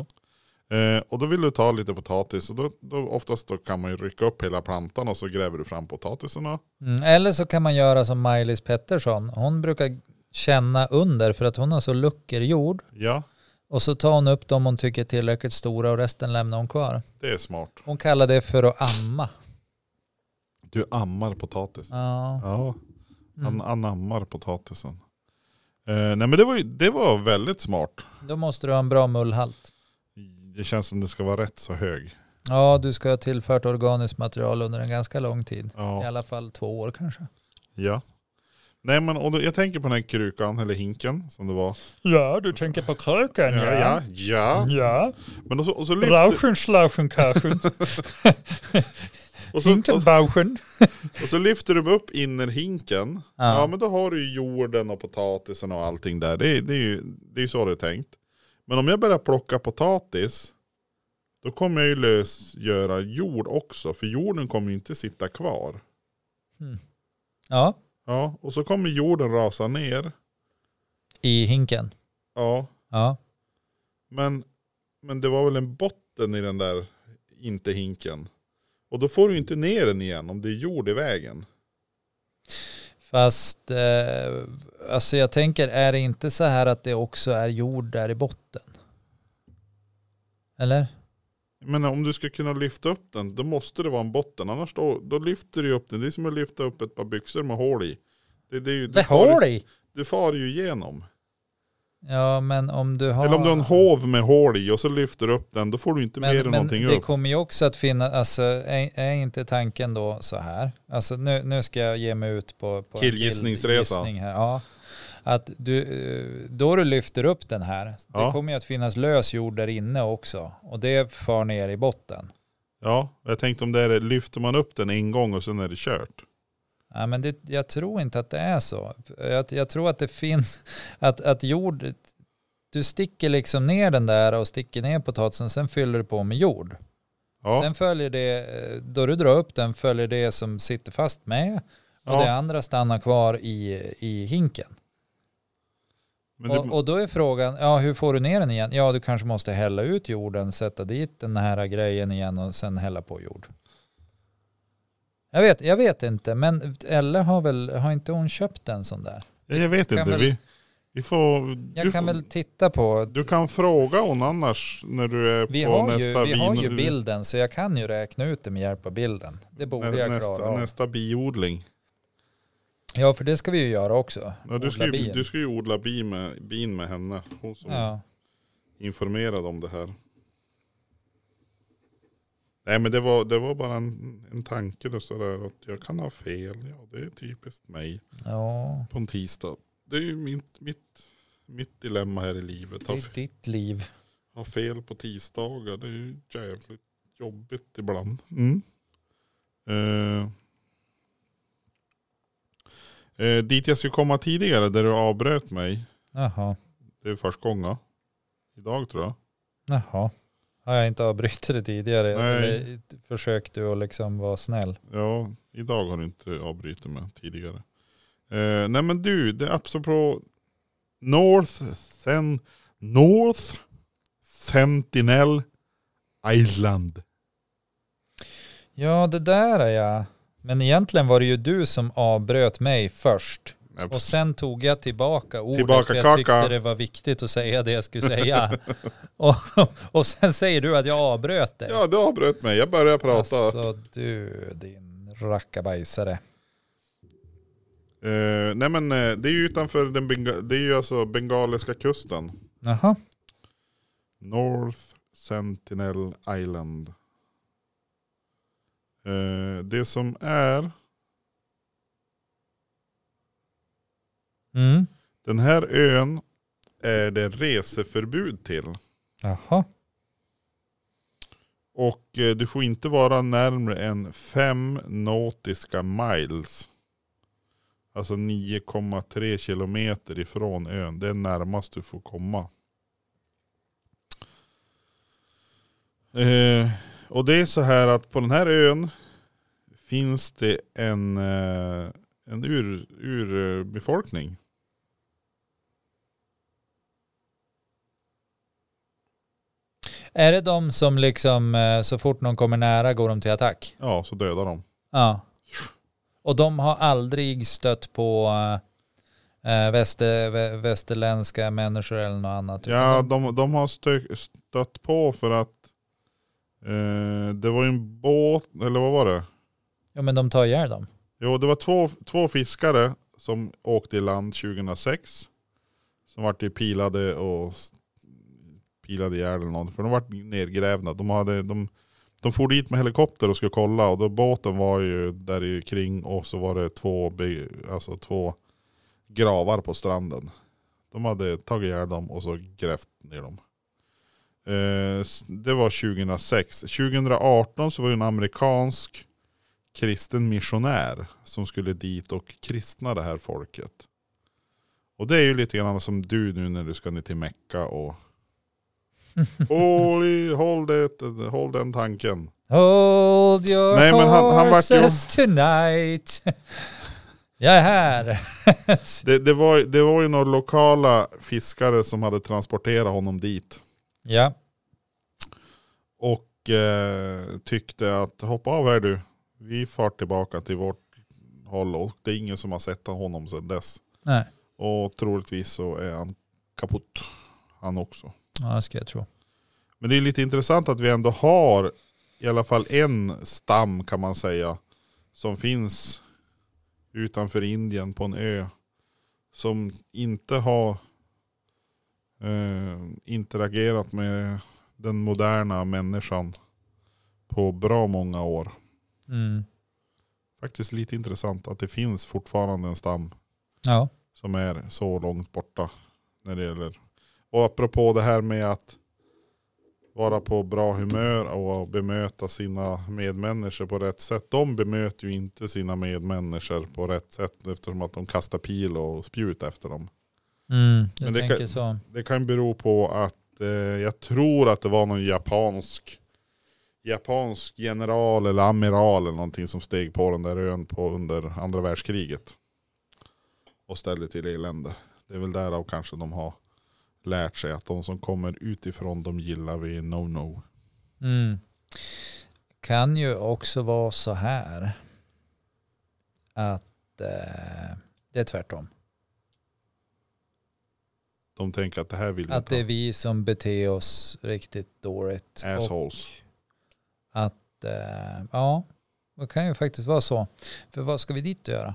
S1: jo.
S2: Eh, och då vill du ta lite potatis och då, då oftast då kan man ju rycka upp hela plantan och så gräver du fram potatisarna.
S1: Mm. Eller så kan man göra som Maj-Lis Pettersson. Hon brukar känna under för att hon har så luckor jord.
S2: Ja,
S1: Och så tar hon upp dem hon tycker är tillräckligt stora och resten lämnar hon kvar.
S2: det är smart.
S1: Hon kallar det för att amma.
S2: Du ammar potatis.
S1: Ja.
S2: Ja, han
S1: Mm.
S2: anammar potatisen. Eh, nej men det var, ju, det var väldigt smart.
S1: Då måste du ha en bra mullhalt.
S2: Det känns som det ska vara rätt så hög.
S1: Ja, du ska ha tillfört organiskt material under en ganska lång tid. I
S2: Ja.
S1: alla fall två år kanske.
S2: ja. Nej men och då, jag tänker på den här krukan eller hinken som det var.
S1: Ja, du tänker på kröken
S2: Ja, ja, ja.
S1: Ja,
S2: Men och så, och så lyfter,
S1: rauschen, slauschen, kauschen,
S2: och så, och,
S1: bauschen.
S2: och så lyfter du upp innerhinken. Ja.
S1: Ja,
S2: men då har du ju jorden och potatisen och allting där. Det, är- det är ju det är ju så det är tänkt. Men om jag börjar plocka potatis. Då kommer jag ju lösgöra jord också. För jorden kommer ju inte sitta kvar.
S1: ja,
S2: Ja, och så kommer jorden rasa ner.
S1: i hinken.
S2: Ja,
S1: Ja,
S2: men, men det var väl en botten i den där inte hinken. Och då får du inte ner den igen om det är jord i vägen.
S1: fast eh, alltså jag tänker, är det inte så här att det också är jord där i botten? Eller?
S2: Men om du ska kunna lyfta upp den, då måste det vara en botten. Annars då, då lyfter du ju upp den. Det är som att lyfta upp ett par byxor med hål i. Det, det är ju, du,
S1: Det
S2: far,
S1: har
S2: ju-
S1: det i.
S2: du far ju igenom.
S1: Ja, men om du har...
S2: Eller om du har en hov med hål i och så lyfter du upp den, då får du inte med dig
S1: Ah. Men, men
S2: någonting
S1: det
S2: upp.
S1: kommer ju också att finnas, alltså är, är inte tanken då så här, alltså nu, nu ska jag ge mig ut på, på en
S2: Killgissningsresa.
S1: killgissning här, ja. Att du, eh, då du lyfter upp den här, det
S2: Ja.
S1: kommer ju att finnas lös jord där inne också. Och det far ner i botten.
S2: Ja, jag tänkte om det är, lyfter man upp den en gång och sen är det kört.
S1: Ja, men det, jag tror inte att det är så. Jag, jag tror att det finns, att, att jord, du sticker liksom ner den där och sticker ner potatisen, sen fyller du på med jord.
S2: Ja,
S1: Sen följer det, eh, då du drar upp den följer det som sitter fast med och
S2: Ja.
S1: det andra stannar kvar i, i hinken.
S2: men det,
S1: och, och då är frågan, ja hur får du ner den igen? Ja du kanske måste hälla ut jorden, sätta dit den här grejen igen och sen hälla på jord. Jag vet, jag vet inte, men Elle har väl, har inte hon köpt en sån där?
S2: Ja, jag vet
S1: kan
S2: inte.
S1: väl-
S2: Vi, vi får,
S1: Jag
S2: du,
S1: kan
S2: får-
S1: väl titta på,
S2: du kan fråga hon annars när du är
S1: vi,
S2: på
S1: har ju,
S2: nästa
S1: vi har ju
S2: vin-
S1: bilden så jag kan ju räkna ut det med hjälp av bilden. Det borde
S2: nä,
S1: jag klara
S2: nästa,
S1: av.
S2: nästa biodling.
S1: Ja för det ska vi ju göra också.
S2: Ja, du, ska
S1: Odla
S2: ju,
S1: bin.
S2: du ska ju odla bin med, bin med henne. Hon som
S1: Ja.
S2: informerade om det här. Nej men det var, det var bara en, en tanke då, sådär att jag kan ha fel. Ja det är typiskt mig
S1: Ja,
S2: på en tisdag. Det är ju mitt, mitt, mitt dilemma här i livet.
S1: det
S2: Ha,
S1: är ditt liv.
S2: ha fel på tisdagar. Det är ju jävligt jobbigt ibland. Mm. Eh, eh, dit jag skulle komma tidigare där du avbröt mig.
S1: Jaha,
S2: Det är först gången. Idag tror jag.
S1: jaha. Har jag inte avbrutit det tidigare?
S2: Nej.
S1: Eller försökte du att liksom vara snäll?
S2: Ja, idag har du inte avbrutit mig tidigare. Eh, nej men du, det är apropå North, sen, North Sentinel Island.
S1: Ja, det där är jag. Men egentligen var det ju du som avbröt mig först.
S2: Nej,
S1: Och sen tog jag tillbaka ordet
S2: Tillbaka
S1: för jag
S2: kaka.
S1: tyckte det var viktigt att säga det jag skulle säga. och, och sen säger du att jag avbröt dig.
S2: Ja, du avbröt mig. Jag började prata.
S1: Alltså du, din rackabajsare.
S2: Eh, nej men eh, det är ju utanför den Benga- det är ju alltså bengaliska kusten.
S1: Jaha.
S2: North Sentinel Island. Eh, det som är,
S1: Mm.
S2: den här ön är det reseförbud till.
S1: Jaha.
S2: Och eh, du får inte vara närmre än 5 nautiska miles. Alltså 9,3 kilometer ifrån ön. Det är närmast du får komma. Eh, och det är så här att på den här ön finns det en, eh, en ur, urbefolkning.
S1: Är det de som liksom eh, så fort någon kommer nära går de till attack?
S2: Ja, så dödar de.
S1: Ja. Och de har aldrig stött på eh, väster, vä, västerländska människor eller något annat?
S2: Ja, de, de har stö, stött på för att eh, det var ju en båt, eller vad var det?
S1: ja men de tar ihjäl dem.
S2: Jo, det var två, två fiskare som åkte i land 2006. Som vart ju pilade och s- pilade ihjäl eller något. För de vart nedgrävda. De, hade, de, de for dit med helikopter och skulle kolla. Och då båten var ju där i kring och så var det två, by- alltså två gravar på stranden. De hade tagit ihjäl dem och så grävt ner dem. Eh, s- det var 2006. 2018 så var det en amerikansk kristen missionär som skulle dit och kristna det här folket. Och det är ju lite grann som du nu när du ska ner till Mecka och håll, i, håll, det, håll den tanken.
S1: Hold your
S2: Nej, men han- han vart ju-
S1: horses tonight. Jag är här.
S2: Det, det, var, det var ju några lokala fiskare som hade transporterat honom dit
S1: ja.
S2: och eh, tyckte att hoppa av här du, vi far tillbaka till vårt håll och det är ingen som har sett honom sedan dess.
S1: Nej,
S2: Och troligtvis så är han kaputt, han också.
S1: ja, det ska jag tro.
S2: Men det är lite intressant att vi ändå har i alla fall en stam kan man säga som finns utanför Indien på en ö som inte har eh, interagerat med den moderna människan på bra många år.
S1: Mm.
S2: Faktiskt lite intressant att det finns fortfarande en stam
S1: Ja.
S2: som är så långt borta. När det gäller. Och apropå det här med att vara på bra humör och bemöta sina medmänniskor på rätt sätt. De bemöter ju inte sina medmänniskor på rätt sätt eftersom att de kastar pil och spjut efter dem.
S1: Mm. Jag
S2: Men det
S1: tänker
S2: kan-
S1: så.
S2: Det kan bero på att eh, jag tror att det var någon japansk japansk general eller amiral eller någonting som steg på den där ön på under andra världskriget. Och ställde till elände. Det är väl därav kanske de har lärt sig att de som kommer utifrån de gillar vi no-no.
S1: Mm. Kan ju också vara så här att eh, det är tvärtom.
S2: De tänker att det här vill vi
S1: Att
S2: inte
S1: det är
S2: ha.
S1: vi som beter oss riktigt dåligt. Och
S2: Assholes.
S1: att, eh, ja, det kan ju faktiskt vara så. För vad ska vi dit och göra?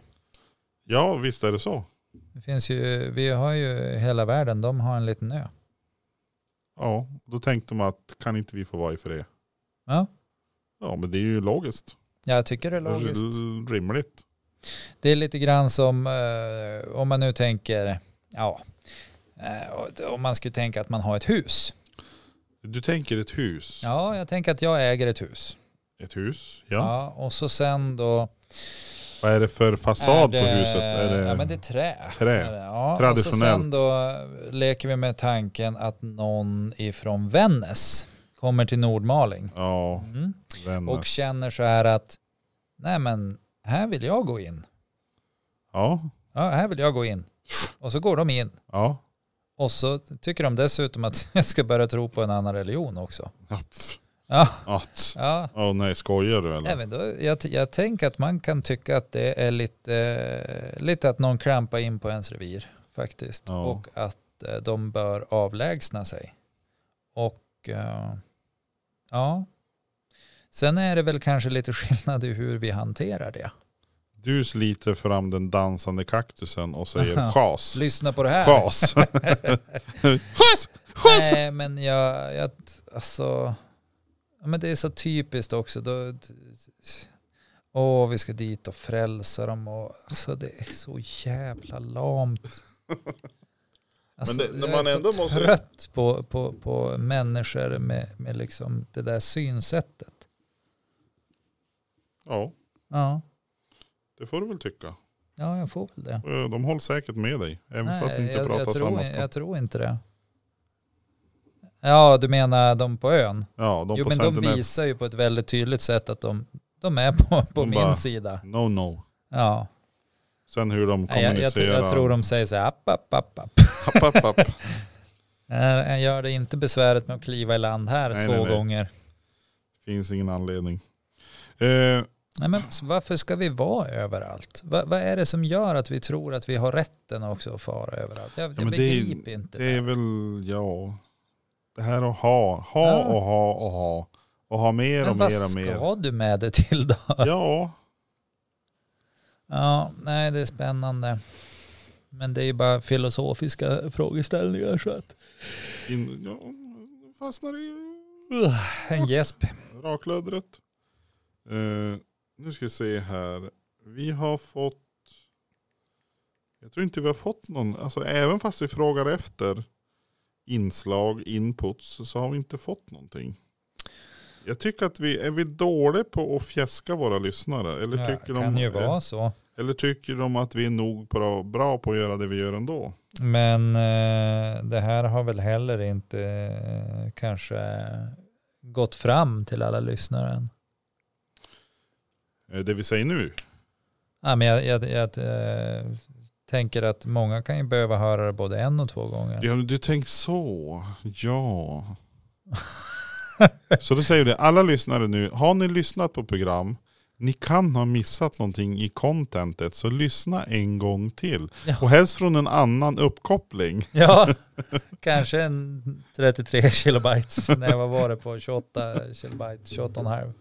S2: Ja visst är det så.
S1: Det finns ju, vi har ju hela världen, de har en liten ö.
S2: Ja, då tänkte de att kan inte vi få vara i fred?
S1: Ja,
S2: Ja men det är ju logiskt.
S1: jag tycker det är logiskt.
S2: R- rimligt.
S1: Det är lite grann som eh, om man nu tänker, ja, eh, om man skulle tänka att man har ett hus.
S2: Du tänker ett hus.
S1: Ja, jag tänker att jag äger ett hus.
S2: Ett hus, ja.
S1: Ja. och så sen då...
S2: Vad är det för fasad
S1: är
S2: på
S1: det-
S2: huset? Är det,
S1: Ja, men det är trä.
S2: trä?
S1: Är det, ja. Och så
S2: Traditionellt.
S1: sen då leker vi med tanken att någon ifrån Vännäs kommer till Nordmaling.
S2: Ja,
S1: Mm.
S2: Vännäs.
S1: Och känner så här att, nej men här vill jag gå in.
S2: Ja,
S1: Ja, här vill jag gå in. Och så går de in.
S2: ja.
S1: Och så tycker de dessutom att jag ska börja tro på en annan religion också.
S2: Att,
S1: Ja,
S2: att.
S1: ja.
S2: Åh nej, skojar du eller?
S1: Nej, men då, jag, jag tänker att man kan tycka att det är lite, eh, lite att någon klampar in på ens revir faktiskt.
S2: Ja.
S1: Och att eh, de bör avlägsna sig. Och eh, ja, sen är det väl kanske lite skillnad i hur vi hanterar det.
S2: Du sliter fram den dansande kaktusen och säger schas.
S1: Lyssna på det här.
S2: Schas. schas! Schas!
S1: Nej, men jag, jag alltså, ja, men det är så typiskt också. Då, åh, vi ska dit och frälsa dem och alltså det är så jävla lamt. Alltså,
S2: det- när
S1: jag
S2: man
S1: är
S2: ändå
S1: så
S2: måste-
S1: trött på, på, på människor med, med liksom det där synsättet.
S2: Ja,
S1: Ja,
S2: det får du väl tycka.
S1: ja jag får väl det.
S2: Eh, De håller säkert med dig. Även fast ni inte
S1: jag,
S2: pratar
S1: jag,
S2: samma
S1: tror,
S2: språk.
S1: jag tror inte det. Ja, du menar de på ön?
S2: Ja, de
S1: jo,
S2: på
S1: men de
S2: Sentinel.
S1: visar ju på ett väldigt tydligt sätt att de, de är på, på
S2: De
S1: min
S2: bara-
S1: sida.
S2: No, no.
S1: Ja.
S2: Sen hur de
S1: Nej, Jag, jag,
S2: kommunicerar.
S1: tror- jag tror de säger så här, app, app, app, app.
S2: App, app, app.
S1: Nej, Jag gör det inte besväret med att kliva i land här
S2: Nej,
S1: två
S2: nej, nej.
S1: gånger.
S2: Finns ingen anledning. Eh,
S1: Nej, men s- varför ska vi vara överallt? Va, vad är det som gör att vi tror att vi har rätten också att fara överallt? Jag, jag
S2: men det är ju-
S1: begriper inte.
S2: det är väl, ja. Det här att ha, ha
S1: Ja.
S2: och ha och ha. Och ha mer
S1: men
S2: och mer
S1: vad
S2: och
S1: ska
S2: mer.
S1: du med det till då?
S2: Ja,
S1: Ja, nej det är spännande. Men det är ju bara filosofiska frågeställningar så att...
S2: in, ja fastnar i
S1: En gäsp.
S2: raklödret. Eh, nu ska vi se här. Vi har fått. Jag tror inte vi har fått någon. Alltså även fast vi frågar efter inslag, inputs så har vi inte fått någonting. Jag tycker att vi är vi dåliga på att fjäska våra lyssnare. Eller,
S1: Ja,
S2: tycker,
S1: kan
S2: de,
S1: ju
S2: eh,
S1: vara så.
S2: eller tycker de att vi är nog bra, bra på att göra det vi gör ändå?
S1: Men eh, det här har väl heller inte eh, kanske gått fram till alla lyssnare än.
S2: Eh, Det vi säger nu.
S1: Ja, men jag, jag, jag eh, tänker att många kan ju behöva höra det både en och två gånger.
S2: Ja, men du tänker så. Ja. Så då säger vi det, alla lyssnare nu, har ni lyssnat på program, ni kan ha missat någonting i contentet, så lyssna en gång till.
S1: Ja.
S2: Och helst från en annan uppkoppling.
S1: Ja, kanske en 33 kilobytes. Nej, vad var det på 28 kilobyte, 28,5.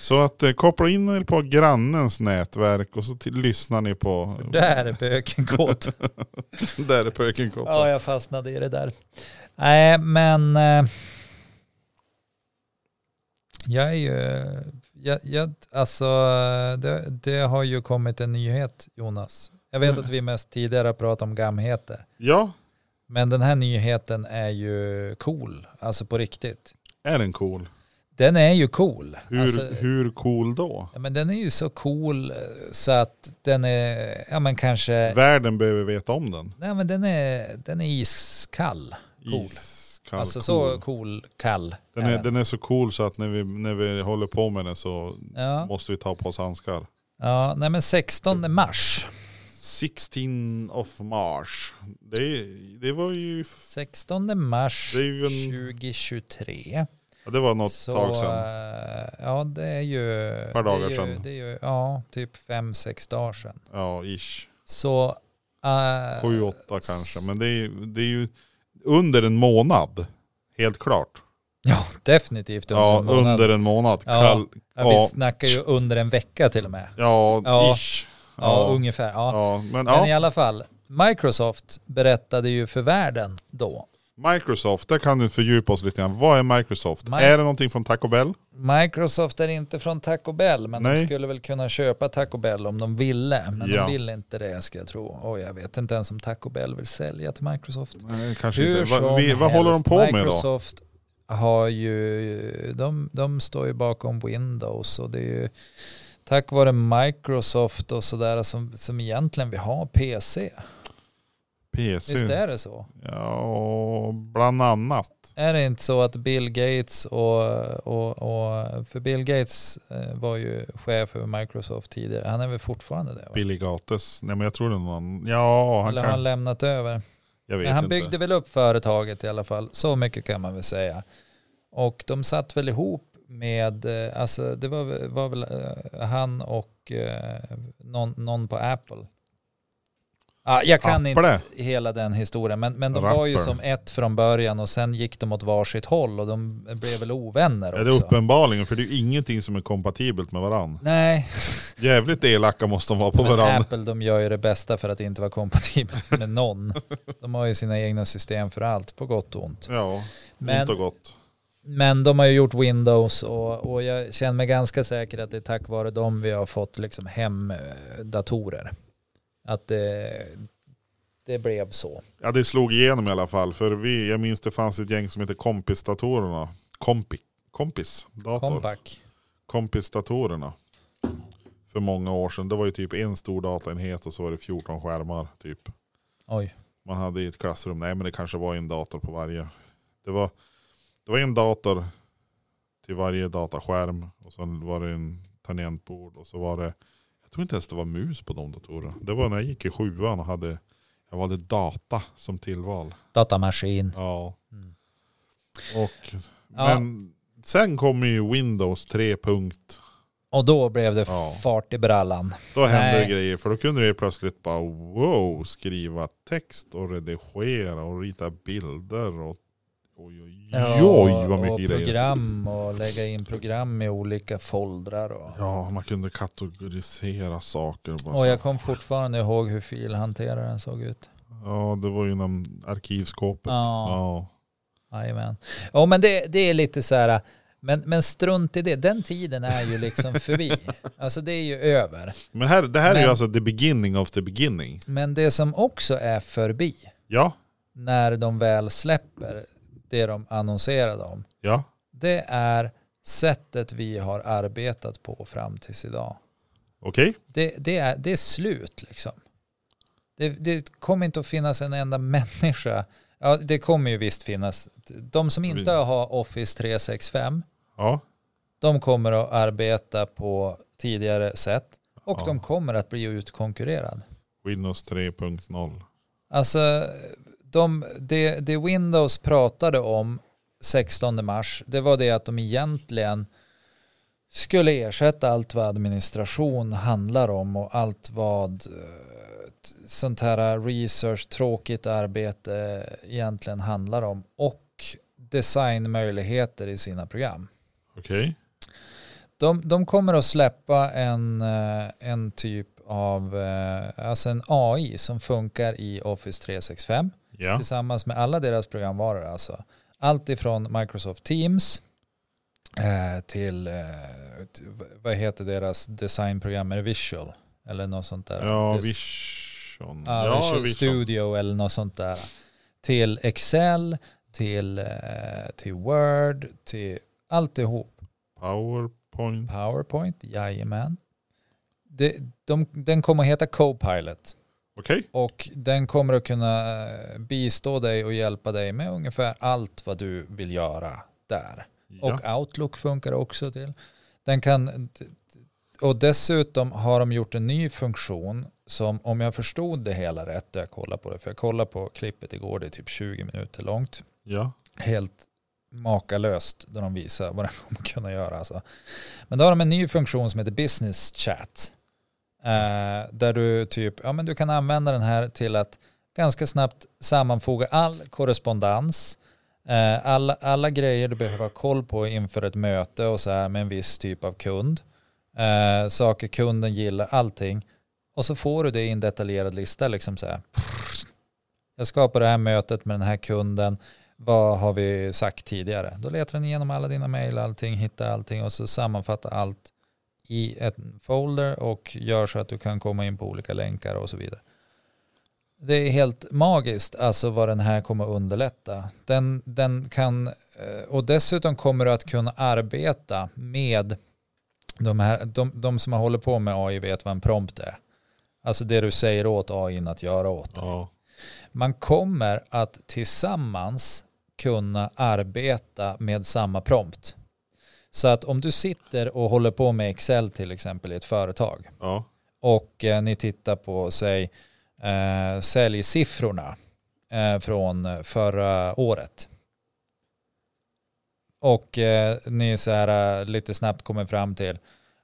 S2: Så att eh, koppla in er på grannens nätverk och så till, lyssnar ni på...
S1: Där är böken kåt.
S2: där är pöken kopplat.
S1: Ja, jag fastnade i det där. Nej, men eh, jag är ju, jag, jag, alltså det, det har ju kommit en nyhet Jonas. Jag
S2: Mm.
S1: vet att vi mest tidigare har pratat om gamheter,
S2: Ja,
S1: men den här nyheten är ju cool, alltså på riktigt.
S2: är den cool?
S1: Den är ju cool.
S2: Hur,
S1: alltså,
S2: hur cool då?
S1: ja, men den är ju så cool eh, så att den är, ja men kanske,
S2: Världen behöver veta om den.
S1: nej men den är, den är iskall. Cool.
S2: Iskall
S1: alltså så
S2: cool.
S1: cool, kall.
S2: Den
S1: är
S2: är,
S1: den.
S2: den är så cool så att när vi, när vi håller på med den så
S1: Ja,
S2: måste vi ta på oss handskar.
S1: ja nej men 16 mars.
S2: 16 of March. Det, det var ju f-
S1: 16 mars
S2: Det är ju en-
S1: 2023.
S2: ja, det var något
S1: Så,
S2: tag sedan.
S1: eh, Ja, det är ju...
S2: par dagar
S1: det är ju,
S2: sedan.
S1: Det är ju, ja, typ fem sex dagar sedan.
S2: Ja, ish.
S1: Så... eh,
S2: 7-8 kanske. Men det är, det är ju under en månad. Helt klart.
S1: Ja, definitivt under
S2: Ja,
S1: en månad.
S2: under en månad.
S1: Ja.
S2: Kall,
S1: Ja, vi
S2: ja.
S1: snackar ju under en vecka till och med.
S2: ja,
S1: Ja.
S2: ish.
S1: Ja,
S2: Ja,
S1: ungefär. Ja.
S2: ja. Men
S1: Men i
S2: ja,
S1: alla fall, Microsoft berättade ju för världen då
S2: Microsoft, där kan du fördjupa oss lite grann. Vad är Microsoft?
S1: Mi-
S2: är det någonting från Taco Bell?
S1: Microsoft är inte från Taco Bell, men
S2: Nej.
S1: de skulle väl kunna köpa Taco Bell om de ville. Men
S2: Ja.
S1: de vill inte det ska jag tro. Och jag vet inte ens om Taco Bell vill sälja till Microsoft.
S2: Nej, kanske
S1: Hur
S2: inte.
S1: som
S2: Vad, vi, vad håller de
S1: helst,
S2: på med då?
S1: Microsoft har ju, de, de står ju bakom Windows och det är ju tack vare Microsoft och sådär som, som egentligen vi har PC.
S2: PC.
S1: Visst är det så?
S2: Ja, bland annat.
S1: Är det inte så att Bill Gates och, och, och för Bill Gates eh, var ju chef över Microsoft tidigare. Han är väl fortfarande det? Va?
S2: Billy Gates. Nej men jag tror det är någon. Ja, han
S1: Eller har han
S2: kan.
S1: lämnat över?
S2: Jag vet
S1: Men han
S2: inte.
S1: byggde väl upp företaget i alla fall. Så mycket kan man väl säga. Och de satt väl ihop med, eh, alltså det var, väl- var väl eh, han och eh, någon, någon på Apple. Ja, jag kan
S2: Apple.
S1: inte hela den historien, men, men de var ju
S2: Rapper.
S1: som ett från början och sen gick de åt varsitt håll och de blev väl ovänner också.
S2: Är det uppenbarligen? För det är ju ingenting som är kompatibelt med varann.
S1: Nej,
S2: Jävligt elaka måste de vara på
S1: men
S2: varann.
S1: Apple de gör ju det bästa för att inte vara kompatibelt med någon. De har ju sina egna system för allt, på gott och ont.
S2: Ja,
S1: Men-
S2: ont och gott.
S1: Men de har ju gjort Windows och, och jag känner mig ganska säker att det är tack vare dem vi har fått liksom hemdatorer. Att det, det blev så.
S2: Ja, det slog igenom i alla fall. För vi, jag minns det fanns ett gäng som hette Kompisdatorerna. Kompi, kompis, dator.
S1: Compaq.
S2: Kompisdatorerna. För många år sedan. Det var ju typ en stor dataenhet och så var det 14 skärmar typ.
S1: Oj.
S2: man hade i ett klassrum. Nej men det kanske var en dator på varje. Det var, det var en dator till varje dataskärm. Och sen var det en tangentbord. Och så var det, jag tror inte ens det var mus på de datorerna. Det var när jag gick i sjuan och hade, jag hade data som tillval.
S1: Datamaskin.
S2: Ja.
S1: Mm.
S2: Och,
S1: Ja.
S2: men sen kom ju Windows 3. punkt.
S1: Och då blev det
S2: Ja.
S1: fart i brallan.
S2: Då hände
S1: Nej.
S2: det grejer. För då kunde du helt plötsligt bara wow, skriva text och redigera och rita bilder. Och, oj, oj, oj vad
S1: och
S2: mycket grejer.
S1: program och lägga in program i olika foldrar. Och,
S2: Ja, alltså. man kunde kategorisera saker. och Bara
S1: och
S2: så.
S1: jag kom fortfarande ihåg hur filhanteraren såg ut.
S2: Ja, det var ju inom arkivskåpet.
S1: Ja.
S2: Ja.
S1: Jajamän. Ja men det, det är lite så här, men, men strunt i det, den tiden är ju liksom förbi. Alltså det är ju över.
S2: Men här, det här är ju
S1: Men-
S2: alltså the beginning of the beginning.
S1: Men det som också är förbi,
S2: Ja,
S1: när de väl släpper det de annonserade om,
S2: ja.
S1: det är sättet vi har arbetat på fram tills idag.
S2: Okej,
S1: det, det, är, det är slut liksom. Det, det kommer inte att finnas en enda människa. Ja, det kommer ju visst finnas. De som inte
S2: Vi-
S1: har Office 365,
S2: ja.
S1: de kommer att arbeta på tidigare sätt och
S2: Ja.
S1: de kommer att bli utkonkurrerad.
S2: Windows 3.0.
S1: Alltså, de, det, det Windows pratade om 16 mars, det var det att de egentligen skulle ersätta allt vad administration handlar om och allt vad eh, t- sånt här research, tråkigt arbete egentligen handlar om och designmöjligheter i sina program.
S2: Okej.
S1: De, de kommer att släppa en, eh, en typ av, eh, alltså en AI som funkar i Office 365
S2: Ja.
S1: tillsammans med alla deras programvaror alltså. Allt ifrån Microsoft Teams eh, till, eh, t- vad heter deras designprogram, är det Visual? Eller något sånt där.
S2: Ja,
S1: Des-
S2: vision.
S1: ja,
S2: Ja,
S1: Visual
S2: vision.
S1: Studio eller något sånt där. Till Excel, till, eh, till Word, till alltihop.
S2: Powerpoint.
S1: Powerpoint, jajamän. Det, de, den kommer att heta Copilot
S2: Okej.
S1: och den kommer att kunna eh, bistå dig och hjälpa dig med ungefär allt vad du vill göra där.
S2: Ja.
S1: Och Outlook funkar också till. Den kan, och dessutom har de gjort en ny funktion som om jag förstod det hela rätt, och jag kollade på det, för jag kollade på klippet igår, det är typ 20 minuter långt
S2: Ja.
S1: helt makalöst då de visar vad den kommer kunna göra. Alltså. Men då har de en ny funktion som heter business chat. Eh, där du typ, ja men du kan använda den här till att ganska snabbt sammanfoga all korrespondens, eh, alla, alla grejer du behöver ha koll på inför ett möte och så här med en viss typ av kund. Eh, saker kunden gillar, allting. Och så får du det i en detaljerad lista liksom så här. Jag skapar det här mötet med den här kunden vad har vi sagt tidigare? Då letar den igenom alla dina mejl, allting, hittar allting och så sammanfattar allt i en folder och gör så att du kan komma in på olika länkar och så vidare. Det är helt magiskt alltså vad den här kommer underlätta. Den, den kan, eh, och dessutom kommer du att kunna arbeta med de, här, de, de som håller på med AI vet vad en prompt är. Alltså det du säger åt AI att göra åt.
S2: ja.
S1: Man kommer att tillsammans kunna arbeta med samma prompt. Så att om du sitter och håller på med Excel till exempel i ett företag
S2: Ja.
S1: och eh, ni tittar på, säg, eh, säljsiffrorna eh, från förra året. Och eh, ni så här eh, lite snabbt kommer fram till,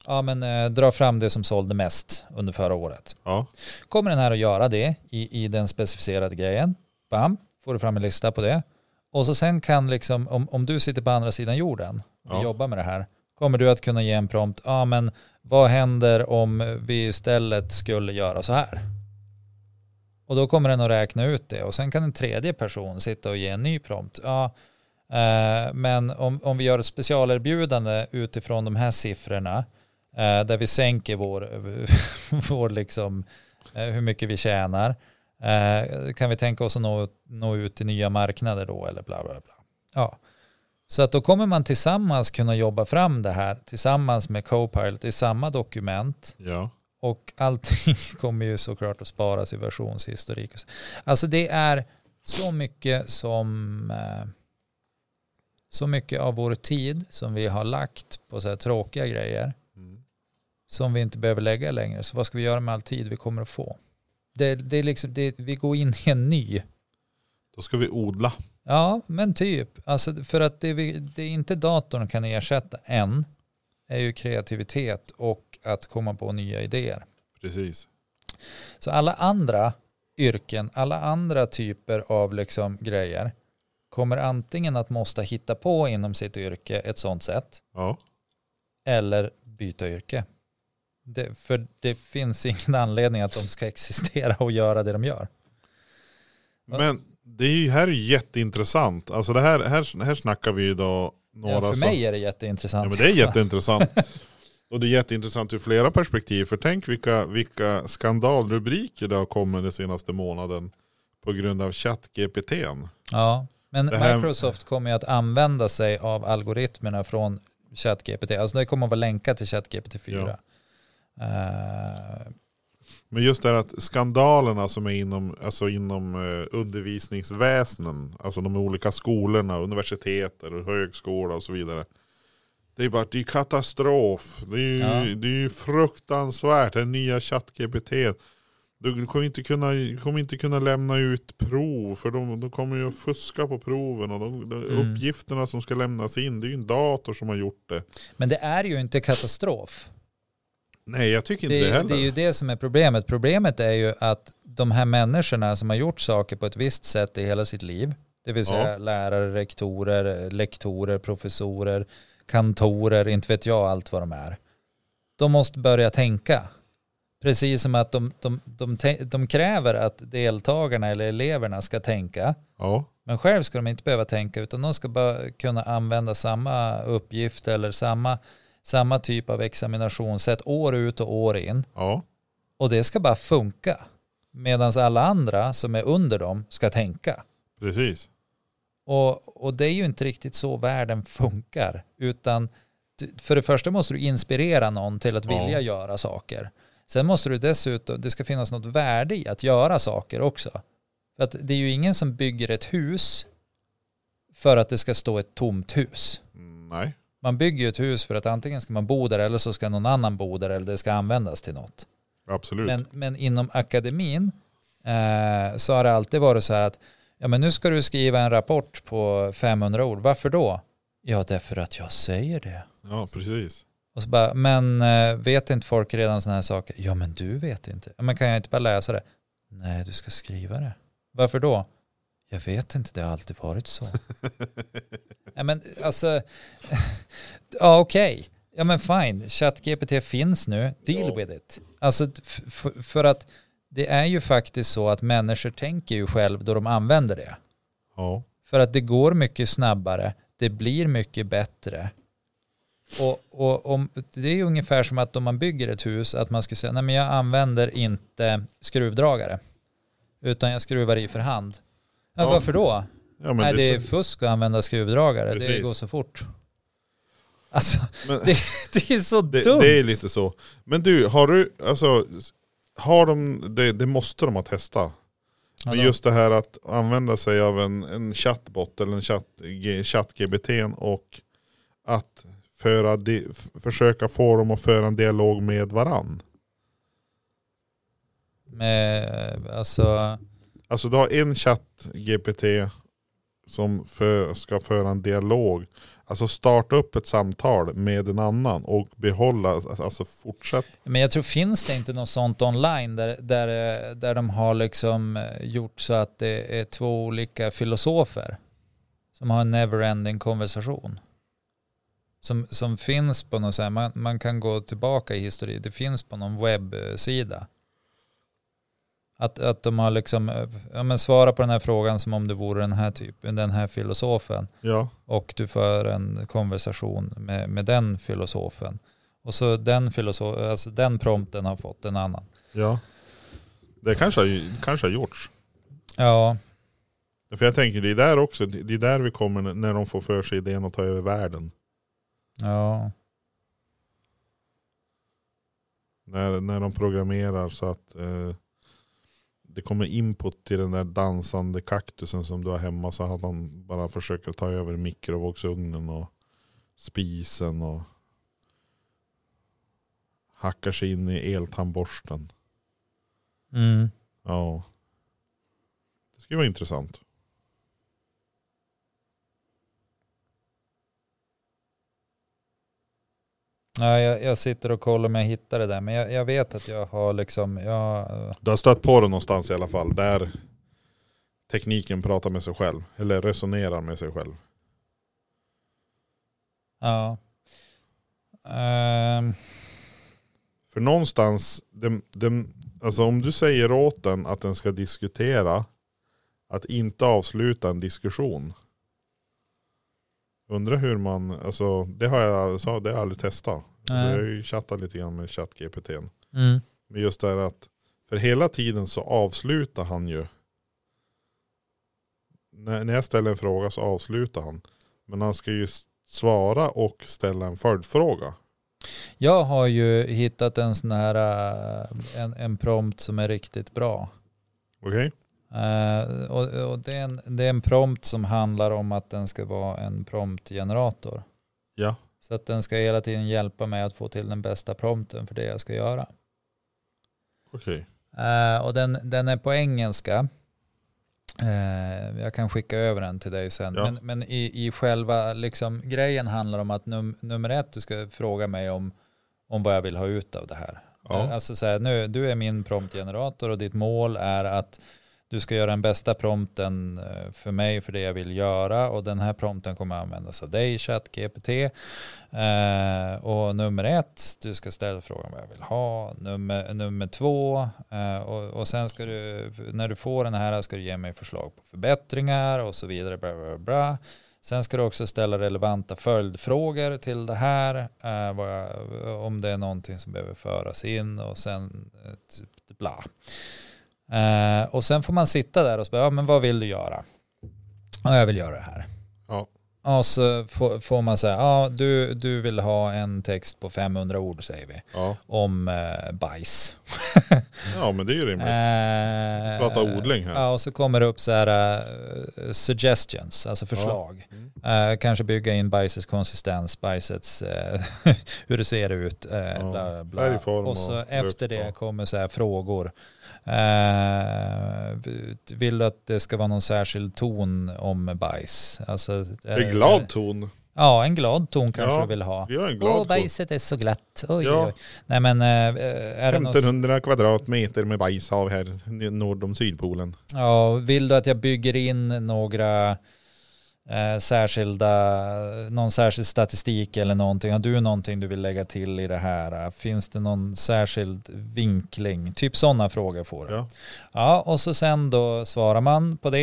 S1: Ja men eh, dra fram det som sålde mest under förra året.
S2: Ja.
S1: Kommer den här att göra det i, i den specificerade grejen, bam, får du fram en lista på det. Och så sen kan liksom, om, om du sitter på andra sidan jorden och
S2: Ja.
S1: jobbar med det här, kommer du att kunna ge en prompt, ja men vad händer om vi istället skulle göra så här? Och då kommer den att räkna ut det och sen kan en tredje person sitta och ge en ny prompt. Ja, eh, men om, om vi gör ett specialerbjudande utifrån de här siffrorna eh, där vi sänker vår, vår liksom, eh, hur mycket vi tjänar. Eh, kan vi tänka oss att nå, nå ut till nya marknader då eller bla bla bla. Ja. Så att då kommer man tillsammans kunna jobba fram det här tillsammans med Copilot i samma dokument.
S2: Ja.
S1: Och allting kommer ju såklart att sparas i versionshistorik. och så. Alltså det är så mycket som eh, så mycket av vår tid som vi har lagt på så här tråkiga grejer
S2: Mm.
S1: som vi inte behöver lägga längre. Så vad ska vi göra med all tid vi kommer att få? Det, det är liksom, det, vi går in i en ny.
S2: Då ska vi odla.
S1: Ja, men typ. Alltså för att det, vi, det inte datorn kan ersätta än är ju kreativitet och att komma på nya idéer.
S2: Precis.
S1: Så alla andra yrken, alla andra typer av liksom grejer kommer antingen att måste hitta på inom sitt yrke ett sånt sätt
S2: Ja.
S1: eller byta yrke. Det, för det finns ingen anledning att de ska existera och göra det de gör.
S2: Men det är ju, här är ju jätteintressant. Alltså det här, här, här snackar vi ju då några
S1: Ja, för
S2: som-
S1: mig är det
S2: Ja,
S1: jätteintressant.
S2: men det är jätteintressant. Och det är jätteintressant ur flera perspektiv. För tänk vilka, vilka skandalrubriker det har kommit den senaste månaden på grund av ChatGPT.
S1: Ja, men
S2: Det här-
S1: Microsoft kommer ju att använda sig av algoritmerna från ChatGPT. Alltså det kommer att vara länkat till ChatGPT 4. Eh,
S2: Men just det här att skandalerna som är inom, alltså inom eh, undervisningsväsenden, alltså de olika skolorna, universiteter och högskola och så vidare. Det är bara det är katastrof. Det är, ju,
S1: Ja.
S2: det är ju fruktansvärt, den nya ChatGPT. Du kommer inte kunna, kommer inte kunna lämna ut prov för de, de kommer ju att fuska på proven och de, de
S1: Mm.
S2: uppgifterna som ska lämnas in, det är ju en dator som har gjort det.
S1: men det är ju inte katastrof.
S2: Nej jag tycker inte det,
S1: det,
S2: heller.
S1: det är ju det som är problemet. Problemet är ju att de här människorna som har gjort saker på ett visst sätt i hela sitt liv, det vill säga
S2: Ja.
S1: lärare, rektorer, lektorer, professorer, kantorer, inte vet jag allt vad de är. De måste börja tänka. Precis som att de, de, de, te- de kräver att deltagarna eller eleverna ska tänka.
S2: ja.
S1: Men själv ska de inte behöva tänka utan de ska bara kunna använda samma uppgift eller samma, samma typ av examinationssätt år ut och år in.
S2: ja.
S1: Och det ska bara funka. Medan alla andra som är under dem ska tänka.
S2: Precis.
S1: Och, och det är ju inte riktigt så världen funkar. Utan d- för det första måste du inspirera någon till att
S2: Ja.
S1: vilja göra saker. Sen måste du dessutom, det ska finnas något värde i att göra saker också. För att det är ju ingen som bygger ett hus för att det ska stå ett tomt hus.
S2: Mm, Nej.
S1: Man bygger ju ett hus för att antingen ska man bo där eller så ska någon annan bo där eller det ska användas till något.
S2: Absolut.
S1: Men, men inom akademin eh, så har det alltid varit så här att ja, men nu ska du skriva en rapport på 500 ord. Varför då? Ja, därför att jag säger det.
S2: Ja, precis.
S1: Och så bara, men eh, vet inte folk redan sådana här saker? Ja, men du vet inte. Ja, men kan jag inte bara läsa det? Nej, du ska skriva det. Varför då? Jag vet inte, det har alltid varit så. ja, men alltså, ja okej. Ja men fine, ChatGPT finns nu, deal
S2: Ja.
S1: with it. Alltså f- f- för att det är ju faktiskt så att människor tänker ju själv då de använder det.
S2: Ja.
S1: För att det går mycket snabbare, det blir mycket bättre. Och, och om, det är ju ungefär som att om man bygger ett hus, att man ska säga, nej men jag använder inte skruvdragare, utan jag skruvar i för hand. Ja,
S2: Ja,
S1: varför då?
S2: ja men
S1: nej, det,
S2: det
S1: är fusk att använda skruvdragare, det
S2: Precis.
S1: går så fort. Alltså,
S2: men,
S1: det, det är så
S2: det,
S1: dumt.
S2: det är lite så. Men du, har du, alltså, har de, det, det måste de ha testat. Men
S1: Ja,
S2: just det här att använda sig av en, en chatbot eller en chatt, G- chatt-GBT och att föra di, f- försöka få dem att föra en dialog med varann.
S1: Med, alltså,
S2: Alltså du har en chatt-GPT som för, ska föra en dialog, alltså starta upp ett samtal med en annan och behålla, alltså fortsätta.
S1: Men jag tror finns det inte något sånt online där, där, eh, där de har liksom eh, gjort så att det är två olika filosofer som har en never-ending konversation. Som, som finns på något så här, man, man kan gå tillbaka i historien, det finns på någon webbsida. Att, att de har liksom, eh, ja men svara på den här frågan som om det vore den här typen, den här filosofen
S2: Ja,
S1: och du för en konversation med, med den filosofen. Och så den, filosof, alltså den prompten har fått en annan.
S2: ja. Det kanske har, ju- kanske har gjorts.
S1: Ja,
S2: För jag tänker det är där också, det är där vi kommer när- när de får för sig idén att ta över världen.
S1: ja.
S2: När, när de programmerar så att eh, det kommer input till den där dansande kaktusen som du har hemma så att han bara försöker ta över mikrovågsugnen och spisen och hackar sig in i eltandborsten.
S1: Mm.
S2: Ja. Det skulle vara intressant.
S1: ja jag, jag sitter och kollar om jag hittar det där. Men jag, jag vet att jag har liksom, jag, eh,
S2: Du har stött på det någonstans i alla fall där tekniken pratar med sig själv eller resonerar med sig själv.
S1: ja. Ehm,
S2: För någonstans, dem, dem, alltså om du säger åt den att den ska diskutera, att inte avsluta en diskussion. Undrar hur man, alltså det har jag, så, det har jag aldrig testat. Alltså, jag har
S1: nej.
S2: ju chattat lite grann med ChatGPT. n.
S1: Mm.
S2: Men just det här att, för hela tiden så avslutar han ju. När, när jag ställer en fråga så avslutar han. Men han ska ju s- svara och ställa en följdfråga.
S1: Jag har ju hittat en sån här, eh, en, en prompt som är riktigt bra.
S2: Okej?
S1: Eh, och och det, är en, det är en prompt som handlar om att den ska vara en promptgenerator.
S2: Ja.
S1: Så att den ska hela tiden hjälpa mig att få till den bästa prompten för det jag ska göra.
S2: Okej.
S1: Eh, och den, den är på engelska. Eh, jag kan skicka över den till dig sen.
S2: Ja.
S1: Men, men i, i själva liksom, grejen handlar om att num, nummer ett, du ska fråga mig om, om vad jag vill ha ut av det här.
S2: Ja.
S1: Alltså så här, nu, du är min promptgenerator och ditt mål är att du ska göra den bästa prompten eh, för mig för det jag vill göra och den här prompten kommer användas av dig, ChatGPT. Eh, och nummer ett, du ska ställa frågan vad jag vill ha. Nummer, nummer två, eh, och, och sen ska du, när du får den här ska du ge mig förslag på förbättringar och så vidare. Bla, bla, bla. Sen ska du också ställa relevanta följdfrågor till det här. Eh, vad jag, om det är någonting som behöver föras in och sen eh, typ bla. Eh, och sen får man sitta där och säga, ja men vad vill du göra? Ja, jag vill göra det här.
S2: Ja.
S1: Och så får, får man säga, ja du, du vill ha en text på 500 ord säger vi,
S2: Ja.
S1: om eh, bajs.
S2: ja, men det är ju rimligt.
S1: Eh,
S2: Prata odling här.
S1: Ja, och så kommer det upp så här eh, suggestions, alltså förslag.
S2: Mm.
S1: Eh, kanske bygga in bajsets konsistens, bajsets, eh, hur det ser ut. Eh,
S2: Ja,
S1: bla, bla.
S2: färg, form
S1: och så
S2: och
S1: efter
S2: lukt,
S1: det
S2: ja.
S1: kommer så här frågor. Eh, vill du att det ska vara någon särskild ton om bajs? Alltså,
S2: Det
S1: eh,
S2: är glad ton.
S1: Ja, en glad ton kanske
S2: Ja,
S1: du vill ha.
S2: Vi har en
S1: Åh,
S2: glad ton.
S1: bajset är så glatt. Oj,
S2: Ja.
S1: oj. Nej, men eh, är det något...
S2: 1500 kvadratmeter med bajs av här norr om Sydpolen.
S1: Ja, vill du att jag bygger in några eh, särskilda, någon särskild statistik eller någonting? Har du någonting du vill lägga till i det här? Finns det någon särskild vinkling? Typ sådana frågor får du.
S2: Ja.
S1: Ja, och så sen då svarar man på det.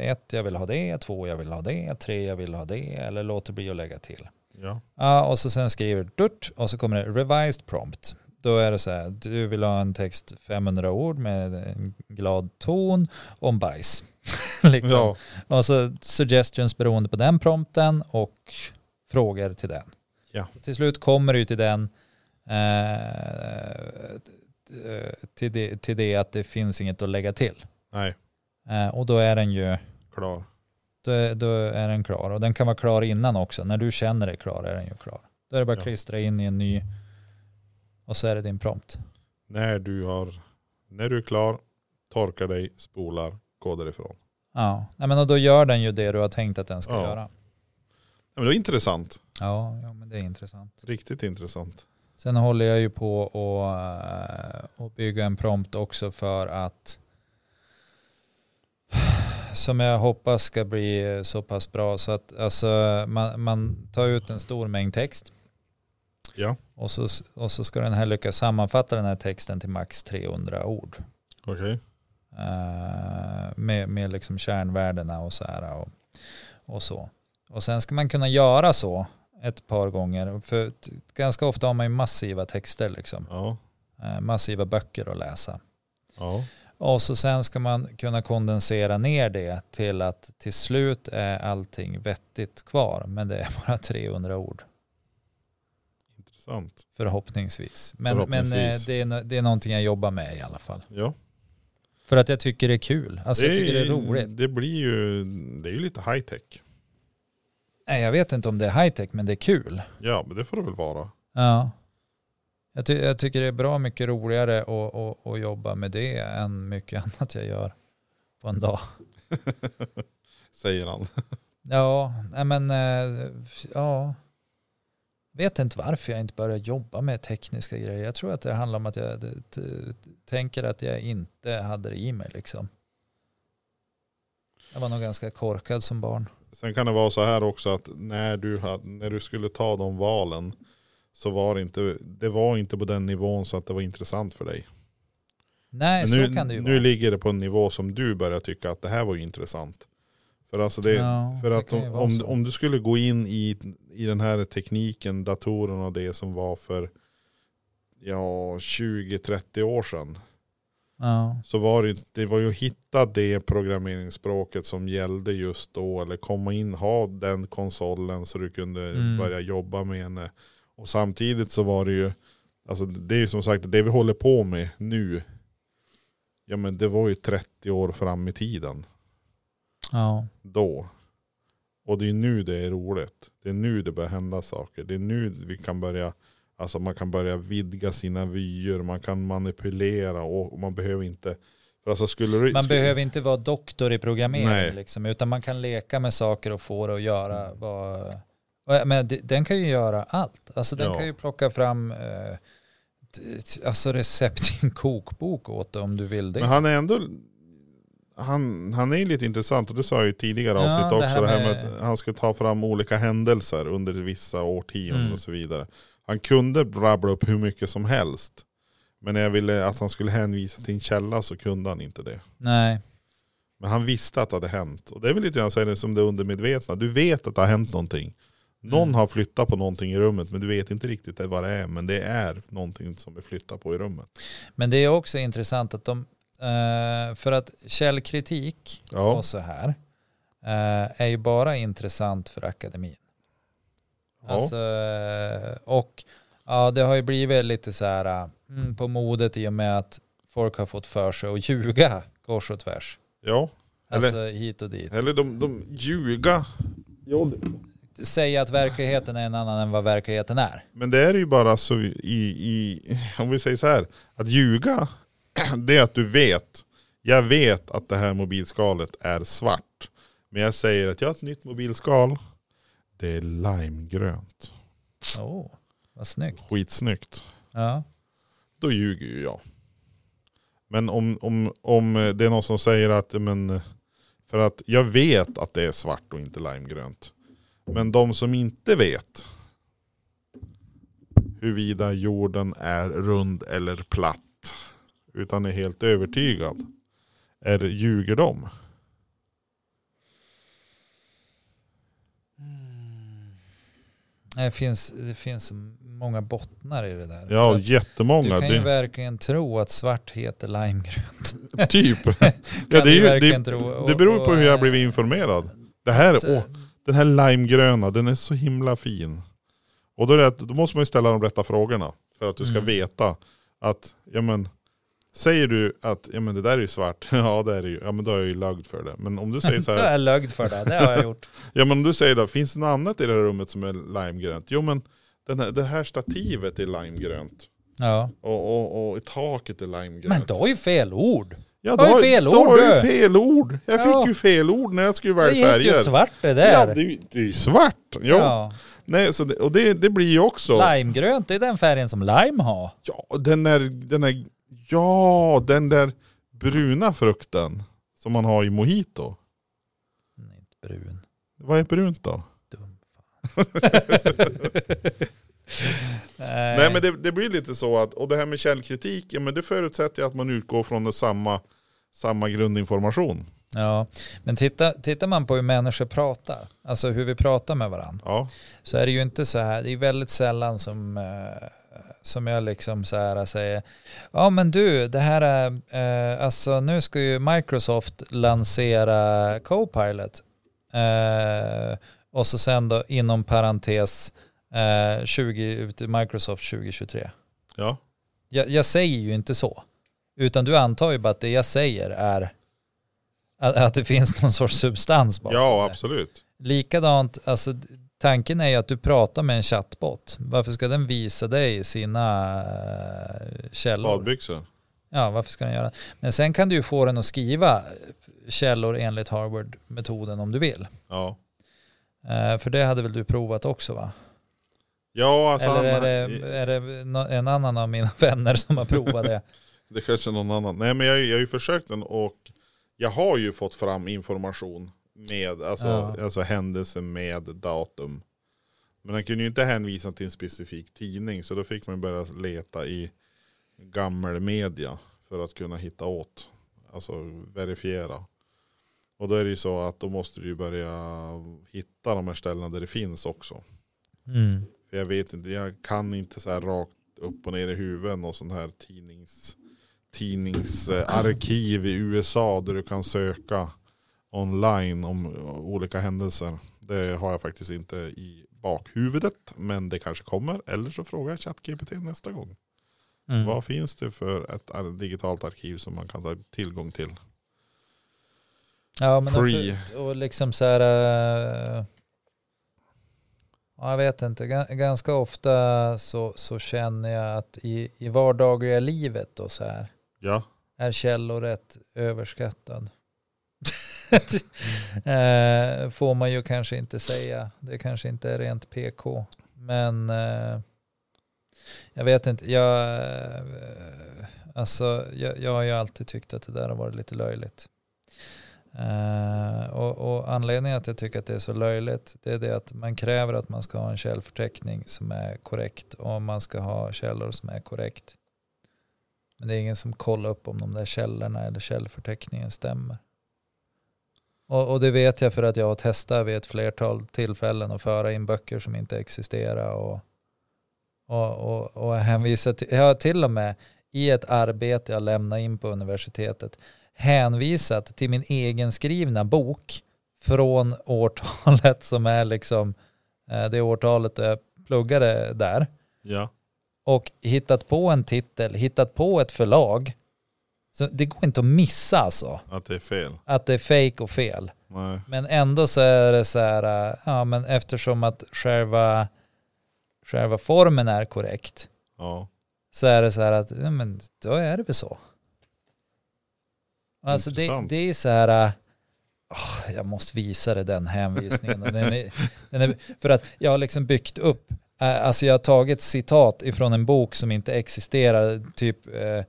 S1: Ett, jag vill ha det. Två, jag vill ha det. Tre, jag vill ha det. Eller låter bli att lägga till.
S2: Ja.
S1: Ja, och så sen skriver du dutt och så kommer det revised prompt. Då är det så här, du vill ha en text 500 ord med en glad ton om bajs. liksom.
S2: ja.
S1: Och så suggestions beroende på den prompten och frågor till den.
S2: Ja.
S1: Till slut kommer du till den eh, till, det, till det att det finns inget att lägga till.
S2: Nej,
S1: Eh, och då är den ju
S2: klar.
S1: då är, då är den klar. Och den kan vara klar innan också. När du känner dig klar är den ju klar. Då är det bara
S2: Ja.
S1: att klistra in i en ny och så är det din prompt.
S2: När du, har, när du är klar, torkar dig, spolar, går därifrån.
S1: Ja, Nej, men och då gör den ju det du har tänkt att den ska
S2: Ja.
S1: göra.
S2: Ja, men det var intressant.
S1: Ja, ja, men det är intressant.
S2: Riktigt intressant.
S1: Sen håller jag ju på och, eh, och bygga en prompt också för att som jag hoppas ska bli så pass bra så att alltså, man, man tar ut en stor mängd text
S2: Ja,
S1: och så, och så ska den här lyckas sammanfatta den här texten till max 300 ord.
S2: okej.
S1: Eh, med, med liksom kärnvärdena och så här och, och så. Och sen ska man kunna göra så ett par gånger. För t- ganska ofta har man ju massiva texter liksom.
S2: Ja,
S1: Eh, massiva böcker att läsa.
S2: ja,
S1: Och så sen ska man kunna kondensera ner det till att till slut är allting vettigt kvar. Men det är bara 300 ord
S2: intressant.
S1: förhoppningsvis. Men, men eh,
S2: Förhoppningsvis.
S1: det, är, no- det är någonting jag jobbar med i alla fall.
S2: Ja.
S1: För att jag tycker det är kul. Alltså jag tycker det är roligt.
S2: Det blir ju, det är ju lite high tech.
S1: Nej, jag vet inte om det är high tech, men det är kul.
S2: Ja, men det får det väl vara.
S1: Ja. Jag, ty- jag tycker det är bra mycket roligare att, att, att jobba med det än mycket annat jag gör på en dag.
S2: Säger han.
S1: Ja, nej men, eh, ja. Vet inte varför jag inte börjar jobba med tekniska grejer. Jag tror att det handlar om att jag t- t- tänker att jag inte hade det i mig liksom. Jag var nog ganska korkad som barn.
S2: Sen kan det vara så här också att när du, hade, när du skulle ta de valen så var det inte, det var inte på den nivån så att det var intressant för dig.
S1: Nej,
S2: Men
S1: så
S2: nu,
S1: kan det ju
S2: nu
S1: vara.
S2: ligger det på en nivå som du börjar tycka att det här var ju intressant. För, alltså det,
S1: Ja,
S2: för
S1: det
S2: att
S1: kan ju
S2: om,
S1: vara
S2: om,
S1: så.
S2: om du skulle gå in i, i den här tekniken, datorn och det som var för ja, 20-30 år sedan.
S1: Ja.
S2: Så var det, det var ju att hitta det programmeringsspråket som gällde just då. Eller komma in, ha den konsolen så du kunde
S1: Mm.
S2: börja jobba med henne. Och samtidigt så var det ju, alltså det är ju som sagt det vi håller på med nu. Ja men det var ju 30 år fram i tiden
S1: ja.
S2: då. Och det är nu det är roligt. Det är nu det börjar hända saker. Det är nu vi kan börja, alltså man kan börja vidga sina vyer, man kan manipulera och man behöver inte, för alltså skulle du,
S1: Man
S2: skulle,
S1: behöver inte vara doktor i
S2: Nej. Mm.
S1: programmering liksom, utan man kan leka med saker och få det att göra vad... och jag menar, det- den kan ju göra allt. Alltså den
S2: Ja.
S1: kan ju plocka fram eh, t- t- alltså recept i en kokbok åt dig om du vill det.
S2: men han är ändå, han, han är ju lite intressant och det sa jag ju i tidigare
S1: Ja,
S2: avsnitt
S1: det här
S2: också, det här med,
S1: med-
S2: att han skulle ta fram olika händelser under vissa årtionden
S1: Mm.
S2: och så vidare. Han kunde rabbla upp hur mycket som helst. Men när jag ville att han skulle hänvisa till en källa så kunde han inte det.
S1: Nej,
S2: Men han visste att det hade hänt. Och det är väl lite grann så här som det undermedvetna. Du vet att det har hänt någonting. Någon
S1: Mm.
S2: har flyttat på någonting i rummet men du vet inte riktigt vad det är. Men det är någonting som är flyttat på i rummet.
S1: men det är också intressant att de, eh, för att källkritik
S2: Ja,
S1: och så här eh, är ju bara intressant för akademin.
S2: ja,
S1: Alltså, eh, och ja, det har ju blivit lite så här eh,
S2: Hm.
S1: mm, på modet i och med att folk har fått för sig att ljuga kors och tvärs.
S2: ja. Eller-
S1: Alltså hit och dit.
S2: Eller de, de ljuga.
S1: Säga att verkligheten är en annan än vad verkligheten är.
S2: Men det är ju bara så i, i, om vi säger så här. Att ljuga, det är att du vet. Jag vet att det här mobilskalet är svart. Men jag säger att jag har ett nytt mobilskal. Det är limegrönt.
S1: Oh, vad snyggt.
S2: Skitsnyggt.
S1: Ja.
S2: då ljuger ju jag. Men om, om, om det är någon som säger att, men, för att jag vet att det är svart och inte limegrönt. Men de som inte vet huruvida jorden är rund eller platt utan är helt övertygad, är, ljuger de?
S1: Det finns, det finns så många bottnar i det där. För
S2: Ja,
S1: att du
S2: jättemånga.
S1: kan ju
S2: Det,
S1: verkligen tro att svart heter limegrönt.
S2: typ. ja, det,
S1: du
S2: är ju,
S1: verkligen
S2: det,
S1: tro. Och-
S2: det beror ju på
S1: och,
S2: hur jag
S1: eh,
S2: blivit informerad. Det här,
S1: Så-
S2: åh, den här limegröna, den är så himla fin. Och då, är det, att- då måste man ju ställa de rätta frågorna. För att du ska
S1: Mm.
S2: veta att, ja men, säger du att ja, men det där är ju svart, ja det är det ju, ja men då är jag ju lagd för det. Men om du säger så
S1: Då
S2: här,
S1: är jag lögd för det, det har jag gjort.
S2: ja men om du säger då, finns det något annat i det här rummet som är limegrönt? Jo men den här, det här stativet är limegrönt.
S1: Ja.
S2: Och, och, och taket är limegrönt.
S1: Men då är ju fel ord.
S2: Ja,
S1: Det var ju fel
S2: Då
S1: ord,
S2: var det ju
S1: du.
S2: fel ord. Jag
S1: Ja.
S2: fick ju fel ord när jag skulle
S1: Det
S2: välja
S1: gick ju
S2: färger.
S1: svart det
S2: Ja, det,
S1: där.
S2: är ju- det är ju svart. Jo. Nej, så det, och det, det blir ju också...
S1: Limegrönt, det är den färgen som lime har.
S2: Ja, den där, den där... Ja, den där bruna frukten som man har i mojito.
S1: Nej, inte brun.
S2: Vad är brunt då?
S1: Dum fan.
S2: Nej men det, det blir lite så att, och det här med källkritik, ja, men det förutsätter ju att man utgår från det samma, samma grundinformation.
S1: Ja, men titta, tittar man på hur människor pratar, alltså hur vi pratar med varandra,
S2: Ja,
S1: så är det ju inte så här, det är väldigt sällan som, eh, som jag liksom så här säger, ja men du, det här är, eh, alltså nu ska ju Microsoft lansera Copilot. Eh, och så sen då inom parentes eh, 20, ut- Microsoft 2023.
S2: ja,
S1: Jag, jag säger ju inte så, utan du antar ju bara att det jag säger är att, att det finns någon sorts substans bakom
S2: ja
S1: det.
S2: absolut.
S1: Likadant, alltså d- tanken är ju att du pratar med en chattbot. Varför ska den visa dig sina eh, källor?
S2: Badbyxor.
S1: Ja, varför ska den göra det? Men sen kan du ju få den att skriva eh, källor enligt Harvard-metoden om du vill.
S2: Ja.
S1: Eh, För det hade väl du provat också va?
S2: Ja, alltså
S1: Eller är
S2: han,
S1: det, är det nå- en annan av mina vänner som har provat det?
S2: det kanske är någon annan. Nej men jag, jag har ju försökt den och jag har ju fått fram information med, alltså,
S1: Ja.
S2: alltså händelser med datum. Men han kunde ju inte hänvisa till en specifik tidning så då fick man börja leta i gammal media för att kunna hitta åt, alltså verifiera. Och då är det ju så att då måste du ju börja hitta de här ställena där det finns också.
S1: Mm.
S2: För jag vet inte, jag kan inte så här rakt upp och ner i huvudet och sån här tidnings, tidningsarkiv i USA där du kan söka online om olika händelser. Det har jag faktiskt inte i bakhuvudet, men det kanske kommer. Eller så frågar jag ChatGPT nästa gång.
S1: Mm.
S2: Vad finns det för ett ar- digitalt arkiv som man kan ta tillgång till?
S1: Ja, men
S2: Free.
S1: Och, och liksom så här... eh, ja, jag vet inte, ga- ganska ofta så, så känner jag att i, i vardagliga livet då så här,
S2: Ja,
S1: är källor rätt överskattad. Eh, Får man ju kanske inte säga, det kanske inte är rent PK. Men eh, jag vet inte, jag, eh, alltså, jag, jag har ju alltid tyckt att det där har varit lite löjligt. Eh, och, och anledningen att jag tycker att det är så löjligt det är det att man kräver att man ska ha en källförteckning som är korrekt och man ska ha källor som är korrekt. Men det är ingen som kollar upp om de där källorna eller källförteckningen stämmer. Och, och det vet jag för att jag har testat vid ett flertal tillfällen att föra in böcker som inte existerar. Och, och, och, och jag, hänvisar till, jag har till och med i ett arbete jag lämnade in på universitetet hänvisat till min egen skrivna bok från årtalet som är liksom eh, det årtalet jag pluggade där
S2: ja,
S1: och hittat på en titel, hittat på ett förlag. Så det går inte att missa alltså
S2: att det är fel.
S1: att det är fake och fel.
S2: Nej.
S1: Men ändå så är det så här, äh, ja men eftersom att själva, själva formen är korrekt
S2: Ja.
S1: så är det så här att, ja men då är det väl så. Alltså det,
S2: Intressant.
S1: det är så här, äh, åh, jag måste visa dig den hänvisningen. Den är, den är, för att jag har liksom byggt upp, äh, alltså jag har tagit citat ifrån en bok som inte existerar, typ äh,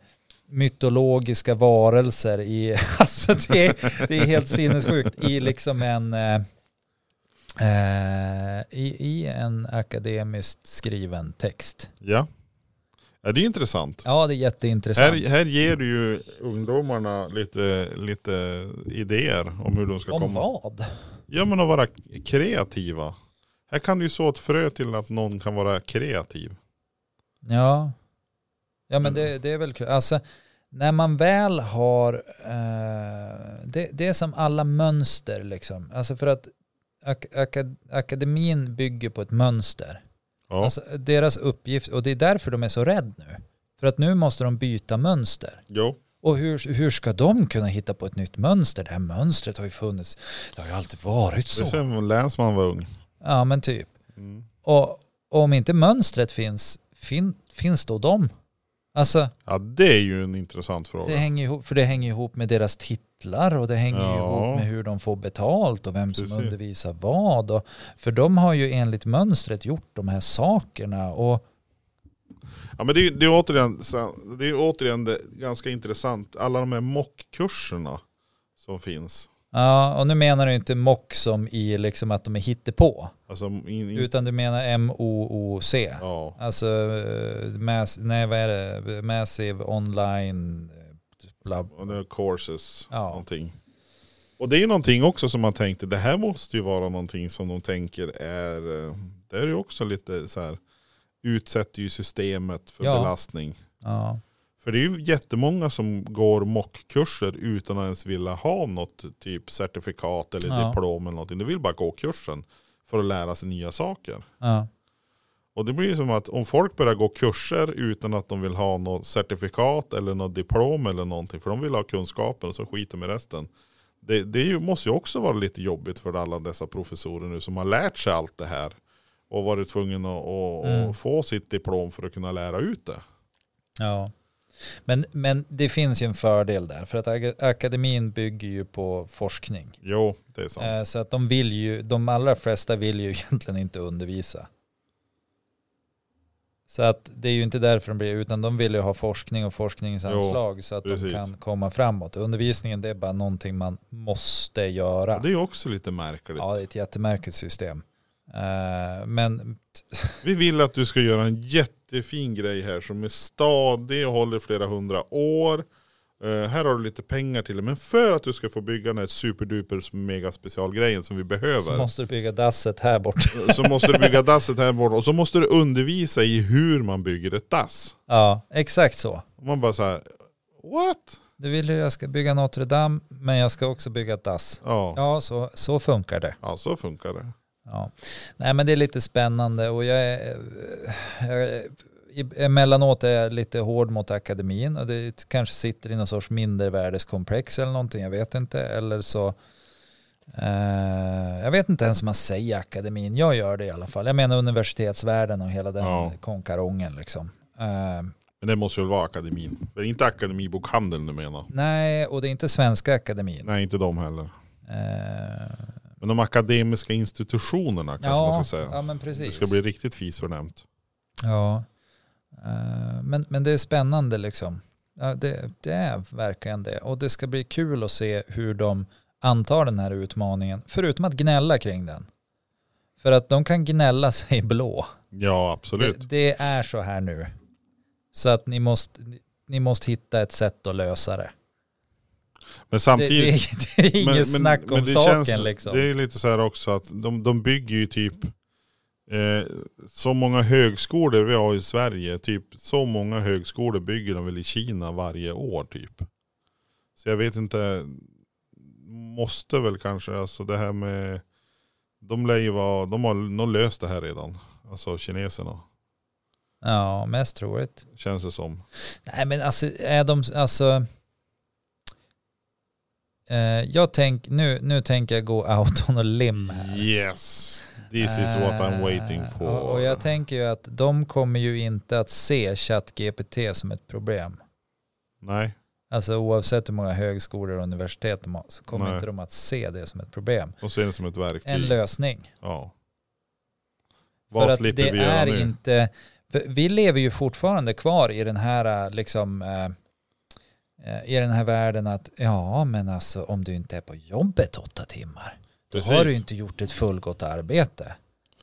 S1: mytologiska varelser i, alltså det är, det är helt sinnessjukt, i liksom en, äh, äh, i, i en akademiskt skriven text.
S2: ja. Är det är intressant?
S1: Ja, det är jätteintressant.
S2: Här, här ger du ju ungdomarna lite, lite idéer om hur de ska
S1: Om
S2: komma.
S1: vad?
S2: Ja men att vara kreativa. Här kan du ju så ett frö till att någon kan vara kreativ.
S1: Ja, ja men det, det är väl kul. Alltså, när man väl har, eh, det, det är som alla mönster liksom. Alltså för att ak- akad- akademin bygger på ett mönster.
S2: Ja,
S1: Alltså deras uppgift, och det är därför de är så rädda nu. För att nu måste de byta mönster.
S2: jo.
S1: Och hur, hur ska de kunna hitta på ett nytt mönster? Det här mönstret har ju funnits, det har ju alltid varit
S2: Det
S1: så.
S2: är sen länsman var ung.
S1: Ja men typ.
S2: Mm.
S1: Och om inte mönstret finns, fin, finns då de? Alltså
S2: Ja det är ju en intressant fråga.
S1: det hänger ihop, för det hänger ihop med deras titlar och det hänger
S2: Ja.
S1: ihop med hur de får betalt och vem som
S2: Precis.
S1: undervisar vad. Och, för de har ju enligt mönstret gjort de här sakerna och
S2: Ja, men det, är, det, är återigen, det är återigen det, ganska intressant. Alla de här mockkurserna som finns.
S1: Ja, och nu menar du inte mock som i liksom att de är hittepå,
S2: Alltså, in, in,
S1: utan du menar M-O-O-C.
S2: ja,
S1: Alltså, eh, mass, nej vad är det, massive online, eh, bla,
S2: och det är courses.
S1: Ja.
S2: Någonting. Och det är ju någonting också som man tänkte, det här måste ju vara någonting som de tänker är, eh, det är ju också lite så här, utsätter ju systemet för
S1: Ja.
S2: belastning.
S1: ja.
S2: För det är ju jättemånga som går mockkurser utan att ens vilja ha något typ certifikat eller
S1: Ja.
S2: diplom eller någonting. De vill bara gå kursen för att lära sig nya saker.
S1: ja.
S2: Och det blir ju som att om folk börjar gå kurser utan att de vill ha något certifikat eller något diplom eller någonting, för de vill ha kunskapen och så skiter med resten. Det, det är ju, måste ju också vara lite jobbigt för alla dessa professorer nu som har lärt sig allt det här och varit tvungen att, att,
S1: Mm.
S2: att få sitt diplom för att kunna lära ut det.
S1: Ja. Men, men det finns ju en fördel där, för att ag- akademin bygger ju på forskning.
S2: Jo, det är sant.
S1: Eh, Så att de vill ju, de allra flesta vill ju egentligen inte undervisa. Så att det är ju inte därför de blir, utan de vill ju ha forskning och forskningsanslag så att de
S2: precis.
S1: kan komma framåt. Undervisningen det är bara någonting man måste göra.
S2: Och Det är ju också lite märkligt.
S1: Ja, det är ett jättemärkligt system. Eh, Men
S2: Vi vill att du ska göra en jättefin grej här som är stadig och håller flera hundra år. Eh, här har du lite pengar till det. Men för att du ska få bygga den här superduper mega specialgrejen som vi
S1: så
S2: behöver.
S1: måste du bygga dasset här borta.
S2: Så måste du bygga dasset här borta. Och så måste du undervisa i hur man bygger ett dass.
S1: Ja, exakt så.
S2: Och man bara så här, what?
S1: Du vill ju jag ska bygga Notre Dame, men jag ska också bygga ett dass.
S2: Ja, ja.
S1: Ja, så, så funkar det.
S2: så funkar det.
S1: Ja. Nej, men det är lite spännande och jag är, jag är, emellanåt är jag lite hård mot akademin och det kanske sitter i någon sorts mindervärdeskomplex eller någonting, jag vet inte. Eller så, eh, jag vet inte ens om man säger akademin, jag gör det i alla fall. Jag menar universitetsvärlden och hela den
S2: Ja.
S1: konkarongen liksom. Eh,
S2: Men det måste väl vara akademin. Det är inte akademibokhandeln du menar.
S1: nej, och det är inte Svenska akademin.
S2: Nej, inte de heller.
S1: Eh,
S2: Men de akademiska institutionerna kanske man ska säga.
S1: ja, men precis.
S2: Det ska bli riktigt fisförnämt.
S1: Ja, Eh, men, men det är spännande liksom. Ja, det, det är verkligen det. Och det ska bli kul att se hur de antar den här utmaningen, förutom att gnälla kring den. För att de kan gnälla sig blå.
S2: Ja,
S1: Det,
S2: absolut.
S1: det är så här nu. Så att ni måste, ni- ni måste hitta ett sätt att lösa det.
S2: Men
S1: Det,
S2: samtidigt.
S1: det, är- det är inget snack om
S2: det
S1: saken
S2: känns-
S1: liksom.
S2: Det är lite så här också att de, de bygger ju typ eh, så många högskolor vi har i Sverige. Typ så många högskolor bygger de väl i Kina varje år typ. Så jag vet inte. Måste väl kanske, alltså det här med. De lär ju vara, de har nog löst det här redan. Alltså kineserna,
S1: Ja, mest troligt.
S2: känns det som.
S1: Nej men alltså, är de, alltså eh, jag tänk, nu, nu tänker jag gå out on a limb här.
S2: Yes, this is what I'm waiting
S1: Mm. Eh,
S2: for.
S1: Och, och jag tänker ju att de kommer ju inte att se ChatGPT som ett problem.
S2: Nej,
S1: Alltså oavsett hur många högskolor och universitet de har så kommer
S2: Nej.
S1: inte de att se det som ett problem.
S2: de ser det som ett verktyg.
S1: En lösning.
S2: Ja.
S1: För
S2: Vad
S1: att
S2: slipper
S1: det
S2: vi göra
S1: är
S2: nu?
S1: inte, för vi lever ju fortfarande kvar i den här eh, liksom eh, eh, i den här världen att ja men alltså om du inte är på jobbet åtta timmar då
S2: Precis.
S1: har du inte gjort ett fullgott arbete.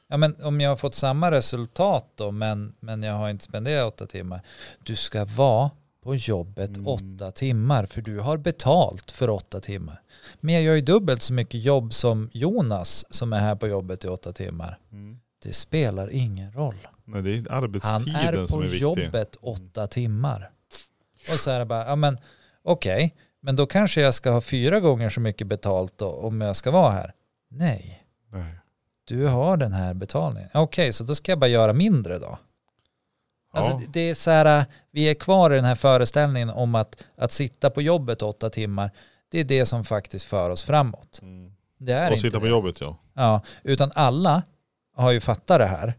S1: Ja men om jag har fått samma resultat då men, men jag har inte spenderat åtta timmar. Du ska vara på jobbet
S2: Mm.
S1: åtta timmar för du har betalt för åtta timmar. Men jag gör ju dubbelt så mycket jobb som Jonas som är här på jobbet i åtta timmar.
S2: Mm.
S1: Det spelar ingen roll.
S2: Nej, det är
S1: Han
S2: arbetstiden
S1: är
S2: som
S1: på
S2: är viktig. Mm.
S1: jobbet åtta timmar. Och så är det bara, ja men okej, men då kanske jag ska ha fyra gånger så mycket betalt då, om jag ska vara här. Nej,
S2: Nej.
S1: du har den här betalningen. Okej, så då ska jag bara göra mindre då.
S2: Ja.
S1: Alltså det- det är så här, vi är kvar i den här föreställningen om att, att sitta på jobbet åtta timmar, det är det som faktiskt för oss framåt.
S2: Mm.
S1: Det är
S2: Och
S1: inte
S2: sitta på
S1: det.
S2: jobbet ja.
S1: Ja, utan alla har ju fattat det här.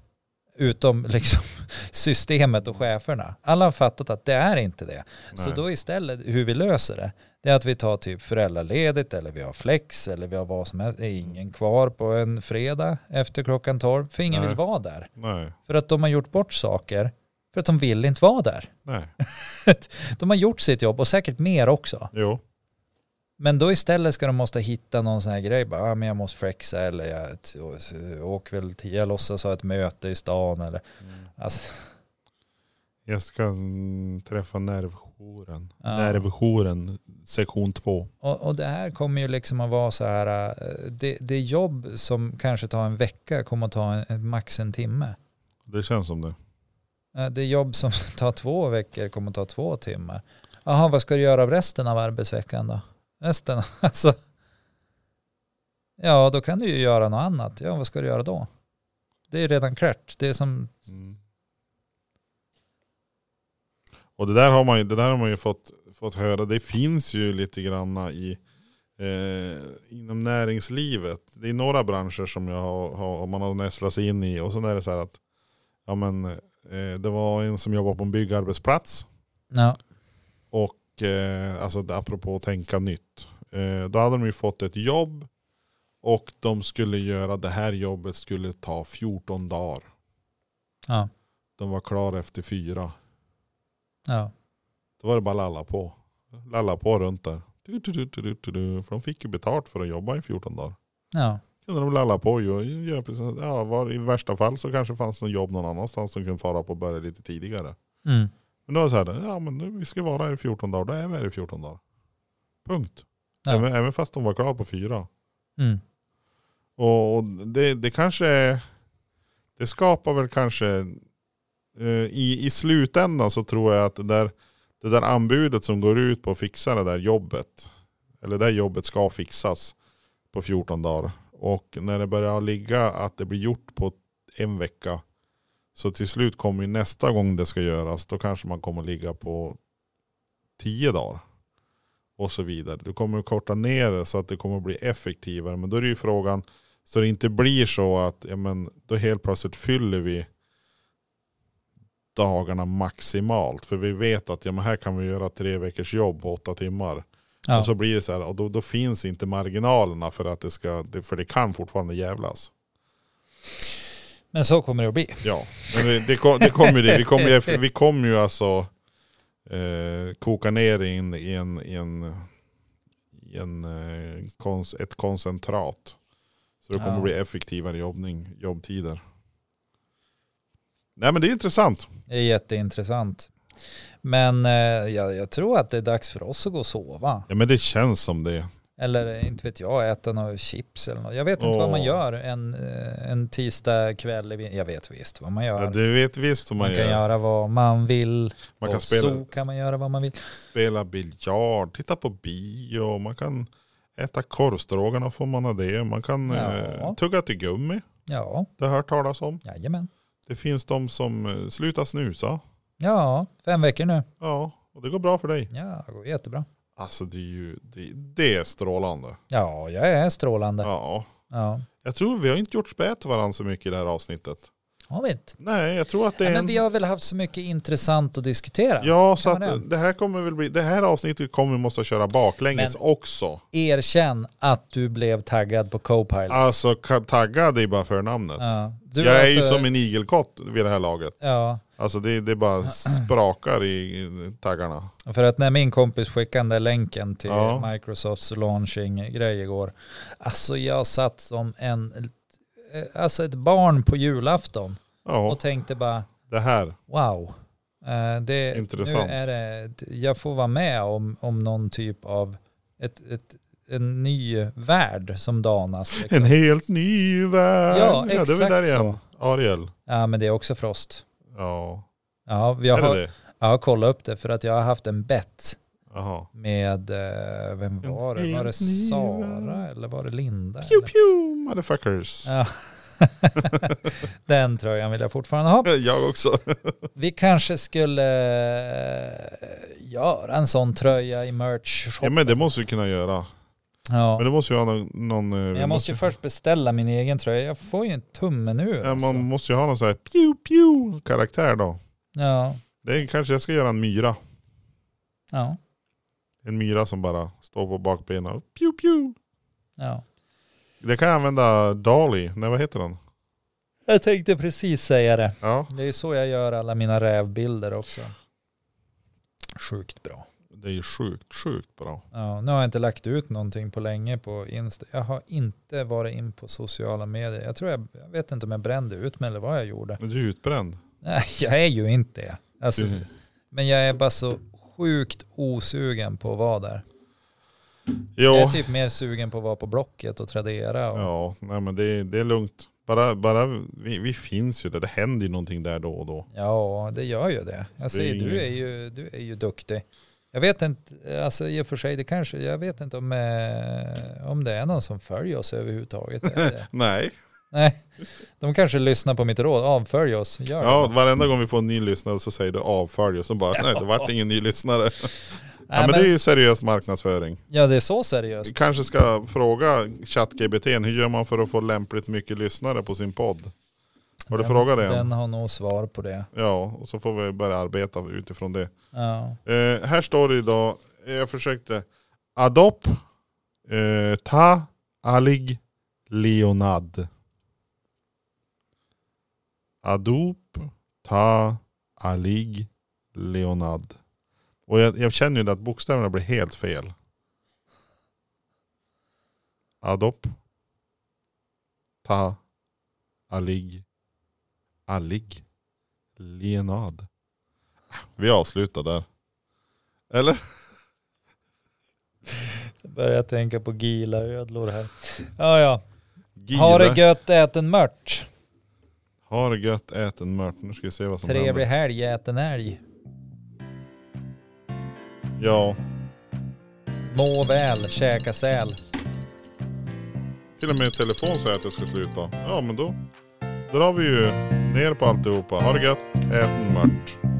S1: Utom liksom systemet och cheferna. Alla har fattat att det är inte det. Så
S2: Nej.
S1: då istället hur vi löser det, det är att vi tar typ föräldraledigt eller vi har flex eller vi har vad som helst. Det är
S2: Mm.
S1: ingen kvar på en fredag efter klockan 12 för ingen
S2: Nej.
S1: vill vara där.
S2: Nej.
S1: För att de har gjort bort saker för att de vill inte vara där.
S2: Nej.
S1: De har gjort sitt jobb och säkert mer också.
S2: Jo.
S1: Men då istället ska de måste hitta någon sån här grej. Bara, ah, men jag måste flexa eller jag t- åker väl till, jag låtsas ha ett möte i stan eller. Alltså,
S2: Jag ska mm, träffa nervjouren.
S1: Ja.
S2: Nervjouren sektion två.
S1: och, och det här kommer ju liksom att vara så här, eh, det, det jobb som kanske tar en vecka kommer att ta en, max en timme.
S2: Det känns som det.
S1: Eh, Det jobb som tar två veckor kommer att ta två timmar. Jaha, vad ska du göra av resten av arbetsveckan då? Resten, alltså. Ja, då kan du ju göra något annat. Ja, vad ska du göra då? Det är ju redan klart. Det är som
S2: Mm. Och det där har man ju, det där har man ju fått, fått höra. Det finns ju lite granna i eh, inom näringslivet. Det är några branscher som jag har, har, man har nästlat sig in i. Och sen är det så här att ja, men, eh, det var en som jobbade på en byggarbetsplats.
S1: Ja,
S2: Och eh, alltså apropå att tänka nytt. Eh, då hade de ju fått ett jobb. Och de skulle göra det här jobbet skulle ta 14 dagar.
S1: ja,
S2: De var klara efter fyra.
S1: ja.
S2: Då var det bara lalla på. Lalla på runt där. Du, du, du, du, du, du, du. För de fick ju betalt för att jobba i 14 dagar.
S1: ja.
S2: Kunde de lalla på ju. och göra precis- Ja, var, I värsta fall så kanske fanns någon jobb någon annanstans som kunde fara upp och börja lite tidigare.
S1: Mm.
S2: Men då var det så här, ja men nu, vi ska vara här i 14 dagar, då är vi här i 14 dagar. Punkt.
S1: Ja.
S2: Även, även fast de var klara på fyra.
S1: Mm.
S2: Och, och det, det kanske, är- det skapar väl kanske, eh, i, i slutändan så tror jag att det där, det där anbudet som går ut på att fixa det där jobbet, eller det där jobbet ska fixas på 14 dagar. Och när det börjar ligga att det blir gjort på en vecka, så till slut kommer ju nästa gång det ska göras, då kanske man kommer ligga på 10 dagar. Och så vidare. Du kommer att korta ner det så att det kommer att bli effektivare. Men då är det ju frågan, så det inte blir så att ja, men, då helt plötsligt fyller vi dagarna maximalt. För vi vet att ja, men här kan vi göra tre veckors jobb på åtta timmar.
S1: Ja.
S2: Och så blir det så här, och då, då finns inte marginalerna för att det ska, det- för det kan fortfarande jävlas.
S1: Men så kommer det att bli.
S2: Ja, men det, det, kom, det kommer ju det. Vi kommer ju, vi kommer ju alltså eh, koka ner in i en, i en, i en eh, kons, ett koncentrat. Så det kommer
S1: Ja.
S2: bli effektivare jobbning, jobbtider. Nej men det är intressant.
S1: Det är jätteintressant. Men eh, jag, jag tror att det är dags för oss att gå och sova.
S2: Ja men det känns som det.
S1: Eller eh, inte vet jag, äta några chips eller något. Jag vet inte vad man
S2: Åh.
S1: gör en, eh, en tisdag kväll. i vin- Jag vet visst vad man gör.
S2: Ja, det vet visst hur man,
S1: man kan
S2: gör.
S1: göra vad man vill.
S2: Man
S1: På
S2: kan spela,
S1: zoo kan man göra vad man vill.
S2: spela biljard, titta på bio, man kan äta korvstroganoff om man har det. Man kan eh,
S1: Ja.
S2: tugga till gummi,
S1: Ja,
S2: det har jag hört talas om.
S1: jajamän.
S2: Det finns de som eh, slutar snusa.
S1: Ja, fem veckor nu.
S2: Ja, och det går bra för dig.
S1: Ja, det går jättebra.
S2: Alltså det är ju det, det är strålande.
S1: Ja, jag är strålande. Ja.
S2: Ja.
S1: ja.
S2: Jag tror vi har inte gjort spä till varandra så mycket i det här avsnittet.
S1: Har vi inte?
S2: Nej, jag tror att det
S1: Ja,
S2: är
S1: men
S2: en...
S1: vi har väl haft så mycket intressant att diskutera.
S2: Ja, så
S1: Kan man
S2: att det här kommer väl bli... Det här avsnittet kommer vi måste köra baklänges också.
S1: Erkänn att du blev taggad på Copilot.
S2: Alltså ka- taggad är bara förnamnet.
S1: Ja. Du
S2: Jag är ju
S1: alltså-
S2: som en igelkott vid det här laget.
S1: Ja,
S2: Alltså det, det bara sprakar i i taggarna.
S1: för att när min kompis skickade den där länken till
S2: Ja.
S1: Microsofts launching-grej igår. Alltså jag satt som en, eh, alltså ett barn på julafton
S2: Ja,
S1: och tänkte bara
S2: det här.
S1: wow. Eh, Det,
S2: Intressant.
S1: Nu är det, jag får vara med om, om någon typ av ett, ett, en ny värld som danas. liksom.
S2: En helt ny värld.
S1: Ja,
S2: det är väl
S1: exakt
S2: där igen. Ariel.
S1: Ja, men det är också Frost.
S2: Ja,
S1: Ja, jag
S2: är det
S1: har,
S2: det?
S1: jag har kollat upp det för att jag har haft en bett
S2: Jaha.
S1: med, eh, vem
S2: En
S1: var det? Var det
S2: helt ny
S1: Sara
S2: värld.
S1: eller var det Linda?
S2: Pew
S1: eller?
S2: pew motherfuckers.
S1: Ja. Den tröjan vill jag fortfarande ha.
S2: Jag också.
S1: Vi kanske skulle eh, göra en sån tröja i merch
S2: Ja men det måste vi kunna göra. Men
S1: Ja.
S2: det måste ju ha någon... någon eh, vi
S1: Jag måste ju först beställa min egen tröja. Jag får ju en tumme nu.
S2: Ja,
S1: Alltså.
S2: man måste ju ha någon sån här pew pew karaktär då.
S1: Ja.
S2: Det är, kanske jag ska göra en myra.
S1: Ja.
S2: En myra som bara står på bakbenen och pew pew.
S1: ja.
S2: Det kan jag använda Dali. Nej vad heter den?
S1: Jag tänkte precis säga det.
S2: Ja.
S1: Det är så jag gör alla mina rävbilder också. Sjukt bra.
S2: Det är ju sjukt, sjukt bra.
S1: Ja, nu har jag inte lagt ut någonting på länge på Insta. Jag har inte varit in på sociala medier. Jag tror jag, jag vet inte om jag brände ut mig eller vad jag gjorde.
S2: Men du är utbränd.
S1: Nej, jag är ju inte det. Alltså,
S2: Mm.
S1: men jag är bara så sjukt osugen på att vara där.
S2: Jo.
S1: Jag är typ mer sugen på att vara på Blocket och Tradera. Och,
S2: Ja, nej men det, det är lugnt. Bara, bara vi, vi finns ju där. Det händer ju någonting där då och då.
S1: Ja, det gör ju det. Jag
S2: Så det är
S1: säger, du
S2: ingen-
S1: är ju, du är ju duktig. Jag vet inte, alltså i och för sig, det kanske, jag vet inte om, eh, om det är någon som följer oss överhuvudtaget. Eller-
S2: Nej.
S1: Nej, de kanske lyssnar på mitt råd, avfölj oss, gör
S2: Ja,
S1: det.
S2: varenda gång vi får en ny lyssnare så säger du avfölj och så bara nej det vart ingen ny lyssnare. Ja,
S1: Nej,
S2: men
S1: men,
S2: det är ju seriös marknadsföring.
S1: ja, det är så
S2: Vi
S1: seriöst.
S2: kanske ska fråga ChatGPT hur gör man för att få lämpligt mycket lyssnare på sin podd? Har du
S1: Den-
S2: frågat det?
S1: Den har nog svar på det.
S2: Ja, och så får vi börja arbeta utifrån det.
S1: Ja,
S2: Eh, här står det idag, eh, jag försökte, Adop eh, Ta Alig Leonad. Adop Ta Alig Leonad. Och jag, jag känner ju att bokstäverna blir helt fel. Adop Ta Alig Alig Leonad. Vi avslutar där. Eller?
S1: jag börjar tänka på gila ödlor här. Ja, ja.
S2: Give.
S1: Ha det gött, ät en mört.
S2: Ha det gött, ät en mört. Nu ska vi se vad som
S1: Trevlig
S2: händer.
S1: helg, ät en älg.
S2: Ja,
S1: Må väl, käka säl.
S2: till och med i telefon säger att jag ska sluta. Ja, men då drar vi ju ner på alltihopa. Ha det gött, ät en mört.